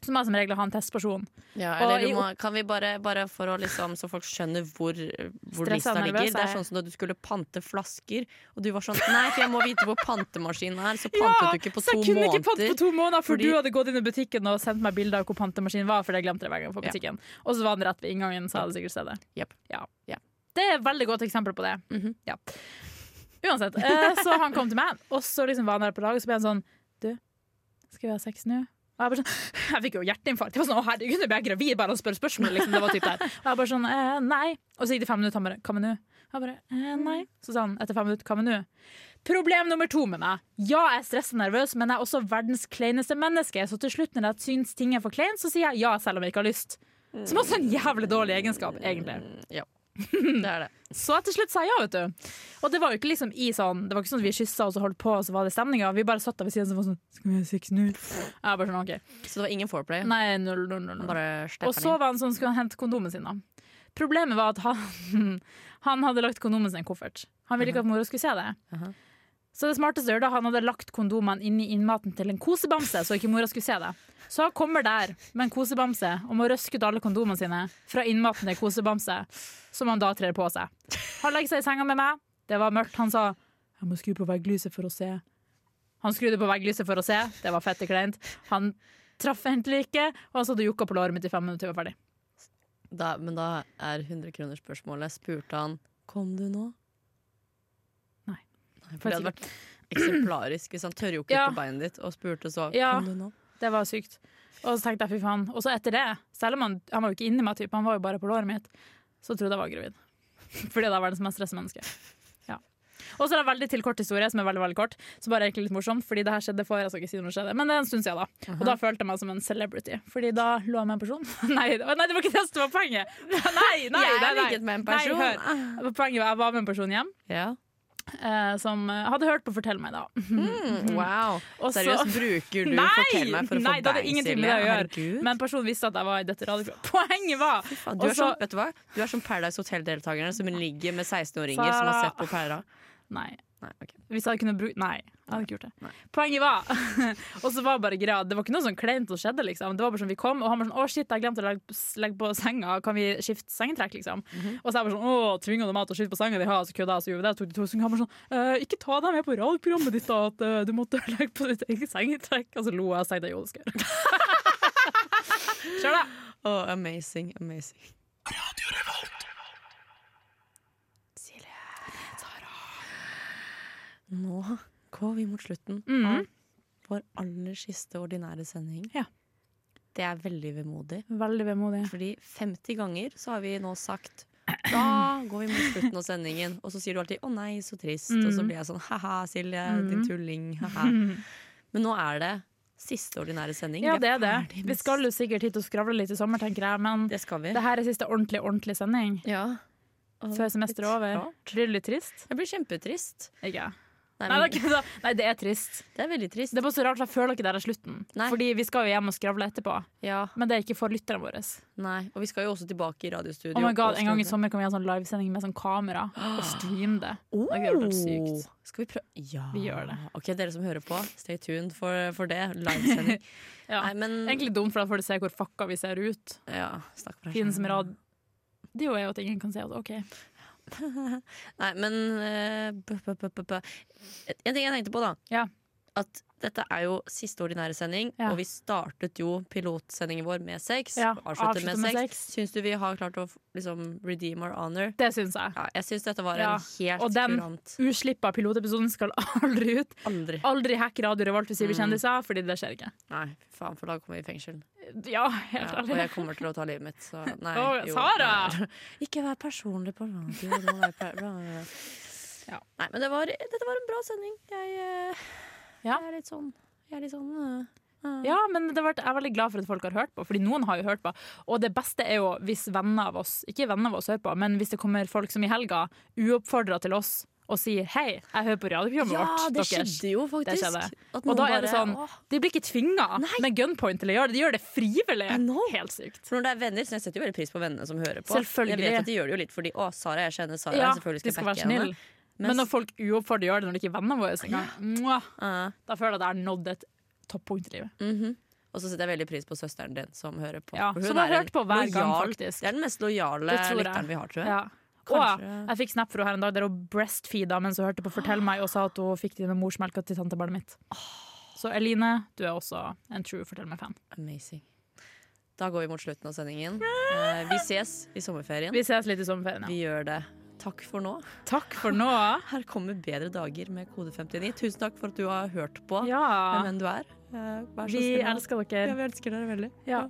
Speaker 2: så må jeg som regel ha en testperson.
Speaker 1: Ja,
Speaker 2: Og
Speaker 1: eller
Speaker 2: i-
Speaker 1: du må, kan vi bare, bare for å liksom Så folk skjønner hvor, hvor
Speaker 2: Stressa
Speaker 1: lista
Speaker 2: og nervøs
Speaker 1: ligger. Det er
Speaker 2: er jeg.
Speaker 1: sånn som da du skulle pante flasker, og du var sånn Nei, for jeg må vite hvor pantemaskinen er. Så pantet du ikke på
Speaker 2: så
Speaker 1: to
Speaker 2: jeg kunne
Speaker 1: måneder.
Speaker 2: ikke pante på to måneder, for
Speaker 1: fordi-
Speaker 2: du hadde gått inn i butikken og sendt meg bilder av hvor pantemaskinen var, for jeg glemte det hver gang jeg var på
Speaker 1: Ja.
Speaker 2: butikken. Og så var den rett ved inngangen, så jeg hadde sikkert sett det.
Speaker 1: Jep.
Speaker 2: Ja.
Speaker 1: Ja.
Speaker 2: Det er et veldig godt eksempel på det.
Speaker 1: Mhm.
Speaker 2: ja. Uansett, eh, så han kom til meg, og så liksom var han der på lag, og så ble han sånn Du, skal vi ha sex nå? Og jeg bare sånn, jeg fikk jo hjerteinfarkt. Jeg var sånn, å herregud, nå ble jeg gravid bare av å spørre spørsmål. Liksom. Det var typ der. Og jeg bare sånn, eh, nei. Og så gikk det fem minutter, han bare, hva med nå? Jeg bare, eh, nei. Så sa han etter fem minutter, hva med nå? Problem nummer to med meg. Ja, jeg er stressa og nervøs, men jeg er også verdens kleineste menneske. Så til slutt, når jeg syns ting er for kleint, så sier jeg ja selv om jeg ikke har lyst. Som også er en jævlig dårlig egenskap, egentlig.
Speaker 1: Det er det.
Speaker 2: Så til slutt sa jeg ja, vet du. Og det var jo ikke liksom i sånn Det var ikke sånn at vi kyssa og så holdt på, og så var det stemninga. Vi bare satt der ved siden og var sånn Skal vi ha sex nå? Jeg bare sånn, OK.
Speaker 1: Så det var ingen foreplay.
Speaker 2: Nei, null, null, null. null.
Speaker 1: Bare
Speaker 2: Og
Speaker 1: stepperen
Speaker 2: så var han sånn, skulle han hente kondomen sin da. Problemet var at han, han hadde lagt kondomen sin i en koffert. Han ville ikke at mora skulle se det.
Speaker 1: Aha.
Speaker 2: Så det smarteste å gjøre da, han hadde lagt kondomene inn i innmaten til en kosebamse, så ikke mora skulle se det. Så han kommer der med en kosebamse og må røske ut alle kondomene sine fra innmaten til kosebamse, som han da trer på seg. Han legger seg i senga med meg. Det var mørkt. Han sa, jeg må skru på vegglyset for å se. Han skrudde på vegglyset for å se. Det var fette kleint. Han traff egentlig ikke, og han satt og jokka på låret mitt i fem minutter. og var ferdig.
Speaker 1: din. Da, men da er 100-kronersspørsmålet Spurte han Kom du nå?
Speaker 2: Nei.
Speaker 1: Nei for det hadde vært eksemplarisk hvis han tørrjoket ikke
Speaker 2: Ja.
Speaker 1: på beinet ditt og spurte så
Speaker 2: Ja.
Speaker 1: Kom du nå?
Speaker 2: Det var sykt. Og så tenkte jeg, fy faen. Og så etter det, selv om han, han var jo ikke inni meg, typ, han var jo bare på låret mitt, så trodde jeg var gravid. Fordi jeg var verdens mest stressa menneske. Ja. Og så er det en veldig til kort historie, som er veldig veldig kort, som bare er egentlig litt morsomt, fordi det her skjedde for jeg skal ikke si når det skjedde, men det er en stund siden, da. Og da følte jeg meg som en celebrity, fordi da lå jeg med en person. nei, det var- nei, det var ikke det som var poenget! Nei, nei,
Speaker 1: Jeg
Speaker 2: nei, nei.
Speaker 1: ligget med en
Speaker 2: Nei,
Speaker 1: person.
Speaker 2: hør. Poenget var jeg var med en person hjem
Speaker 1: Ja.
Speaker 2: eh, som eh, hadde hørt på Fortell meg, da.
Speaker 1: Mm, wow.
Speaker 2: Og så-
Speaker 1: Seriøst, bruker du
Speaker 2: Nei!
Speaker 1: Fortell meg for å få
Speaker 2: Nei, det hadde
Speaker 1: deg,
Speaker 2: ingenting med
Speaker 1: Silje?
Speaker 2: det å gjøre.
Speaker 1: Herregud.
Speaker 2: Men personen visste at jeg var i dette radioprogrammet. Poenget var
Speaker 1: Faen, Du, er
Speaker 2: Og så-
Speaker 1: som, vet du, hva? du er som Paradise Hotel-deltakerne som ligger med 16-åringer som har
Speaker 2: Sara.
Speaker 1: sett på Pæra.
Speaker 2: Nei.
Speaker 1: Nei, ok.
Speaker 2: Hvis jeg hadde kunnet bruke Nei, jeg hadde ikke gjort det.
Speaker 1: Nei.
Speaker 2: Poenget var Og så var bare greia Det var ikke noe sånn kleint som skjedde, liksom. Det var bare sånn vi kom, og han var sånn Å, shit, jeg glemte å legge, legge på senga. Kan vi skifte sengetrekk, liksom?
Speaker 1: Mhm.
Speaker 2: Og så jeg bare sånn Å, tvinga du meg til å skifte på senga di? Ja, så kødda jeg, så gjorde vi det. Så tok de to senger. Han bare sånn «Eh, Ikke ta deg med på radioprogrammet ditt, da, at eh, du måtte legge på ditt eget sengetrekk. Og så lo jeg og tenkte jo, det skal jeg gjøre. Kjør, da.
Speaker 1: Å, amazing, amazing. Silje. Nå går vi mot slutten
Speaker 2: Mhm.
Speaker 1: av vår aller siste ordinære sending.
Speaker 2: Ja.
Speaker 1: Det er veldig vemodig.
Speaker 2: Veldig vemodig.
Speaker 1: Fordi 50 ganger så har vi nå sagt da går vi mot slutten av sendingen, og så sier du alltid 'å nei, så trist', og så
Speaker 2: Mhm.
Speaker 1: blir jeg sånn 'ha-ha, Silje,
Speaker 2: Mm.
Speaker 1: din tulling', ha-ha. Men nå er det siste ordinære sending.
Speaker 2: Ja,
Speaker 1: Vi
Speaker 2: det er det.
Speaker 1: ferdig med
Speaker 2: Vi skal jo sikkert hit og skravle litt i sommer, tenker jeg, men
Speaker 1: Det skal vi.
Speaker 2: det her er siste ordentlig, ordentlig sending
Speaker 1: Ja. Og
Speaker 2: før semesteret er
Speaker 1: litt
Speaker 2: over.
Speaker 1: rart.
Speaker 2: Blir det litt trist?
Speaker 1: Jeg blir kjempetrist.
Speaker 2: Ikke jeg.
Speaker 1: Nei,
Speaker 2: Nei,
Speaker 1: men,
Speaker 2: det er ikke så- Nei, det er trist.
Speaker 1: det er veldig trist.
Speaker 2: Det er bare så rart, for jeg føler ikke det er slutten.
Speaker 1: Nei.
Speaker 2: Fordi vi skal jo hjem og skravle etterpå.
Speaker 1: Ja,
Speaker 2: Men det er ikke for lytterne våre.
Speaker 1: nei. Og vi skal jo også tilbake i radiostudio.
Speaker 2: Oh my god,
Speaker 1: og
Speaker 2: En gang i
Speaker 1: stå-
Speaker 2: sommer kan vi ha sånn livesending med sånn kamera og streame det.
Speaker 1: Oh,
Speaker 2: Det hadde vært sykt.
Speaker 1: Skal vi prøve? Ja.
Speaker 2: Vi gjør det.
Speaker 1: Ok, Dere som hører på, stay tuned for, for det. Livesending.
Speaker 2: Ja.
Speaker 1: Nei, men
Speaker 2: Egentlig dumt, for da får du se hvor fucka vi ser ut.
Speaker 1: ja, snakk for deg
Speaker 2: Tiden
Speaker 1: selv.
Speaker 2: som rad Det er jo at ingen kan se at OK.
Speaker 1: Nei, men eh, bø, bø, bø, bø, bø. En ting jeg tenkte på, da.
Speaker 2: Ja.
Speaker 1: At dette er jo siste ordinære sending,
Speaker 2: Ja.
Speaker 1: og vi startet jo pilotsendingen vår med sex.
Speaker 2: Ja,
Speaker 1: avsluttet
Speaker 2: avslutte
Speaker 1: med,
Speaker 2: med
Speaker 1: sex.
Speaker 2: sex.
Speaker 1: Syns du vi har klart å liksom, redeem our honor?
Speaker 2: Det syns jeg.
Speaker 1: Ja, jeg syns dette var
Speaker 2: Ja,
Speaker 1: en helt
Speaker 2: og den-
Speaker 1: kurant
Speaker 2: Uslippa pilotepisoden skal aldri ut.
Speaker 1: Aldri.
Speaker 2: Aldri hack Radio Revolt hvis vi blir kjendiser, fordi det skjer ikke.
Speaker 1: Nei, fy faen, for da kommer vi i fengsel.
Speaker 2: Ja,
Speaker 1: Ja,
Speaker 2: helt
Speaker 1: og
Speaker 2: ærlig.
Speaker 1: jeg kommer til å ta livet mitt, så nei.
Speaker 2: Å, Sara!
Speaker 1: nei. Ikke vær personlig på radio. det må være per- bla, bla, bla.
Speaker 2: Ja.
Speaker 1: Nei, men det var, dette var en bra sending. Jeg, eh,
Speaker 2: Ja.
Speaker 1: jeg er litt sånn Jeg er litt sånn eh,
Speaker 2: Ja, men det har vært, jeg er veldig glad for at folk har hørt på, fordi noen har jo hørt på. Og det beste er jo hvis venner av oss, ikke venner av oss hører på, men hvis det kommer folk som i helga uoppfordra til oss og sier hei, jeg hører på radioprogrammet
Speaker 1: Ja,
Speaker 2: vårt.
Speaker 1: det
Speaker 2: deres».
Speaker 1: skjedde jo faktisk.
Speaker 2: Det skjedde.
Speaker 1: At
Speaker 2: Og
Speaker 1: noen
Speaker 2: da er det
Speaker 1: bare,
Speaker 2: sånn,
Speaker 1: «Åh».
Speaker 2: de blir ikke tvinga med gunpoint til å gjøre det, de gjør det frivillig.
Speaker 1: I know.
Speaker 2: Helt sykt.
Speaker 1: For når det er venner, så jeg setter jo veldig pris på vennene som hører på.
Speaker 2: Selvfølgelig.
Speaker 1: Jeg vet at de gjør det jo litt fordi å, Sara, jeg kjenner Sara.
Speaker 2: Ja,
Speaker 1: jeg selvfølgelig
Speaker 2: de skal være
Speaker 1: backe henne.
Speaker 2: snille. Men
Speaker 1: Mens-
Speaker 2: når folk uoppfordra gjør det når de ikke er vennene våre engang, mwah,
Speaker 1: Ja.
Speaker 2: da føler jeg at jeg har nådd et toppunkt i livet.
Speaker 1: Og så setter jeg veldig pris på søsteren din som hører på.
Speaker 2: Ja,
Speaker 1: For
Speaker 2: som
Speaker 1: er
Speaker 2: har
Speaker 1: en
Speaker 2: hørt på hver gang,
Speaker 1: lojal-
Speaker 2: faktisk.
Speaker 1: Det er den mest lojale
Speaker 2: Det tror jeg.
Speaker 1: lytteren vi har, tror jeg.
Speaker 2: Ja. Og
Speaker 1: Kanskje-
Speaker 2: jeg fikk snap fra her en dag der hun breastfeeda mens hun hørte på Fortell meg og sa at hun fikk det med morsmelka til tantebarnet mitt. Så Eline, du er også en true Fortell meg-fan.
Speaker 1: Amazing. Da går vi mot slutten av sendingen. Eh, vi ses i sommerferien.
Speaker 2: Vi ses litt i sommerferien.
Speaker 1: Vi
Speaker 2: Ja.
Speaker 1: gjør det. Takk for nå.
Speaker 2: Takk for nå.
Speaker 1: Her kommer bedre dager med kode 59. Tusen takk for at du har hørt på hvem
Speaker 2: Ja.
Speaker 1: enn du er. Eh, vær så
Speaker 2: Vi
Speaker 1: snill.
Speaker 2: elsker
Speaker 1: Ja,
Speaker 2: dere.
Speaker 1: vi elsker dere veldig.
Speaker 2: Ja.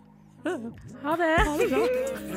Speaker 2: Ha det.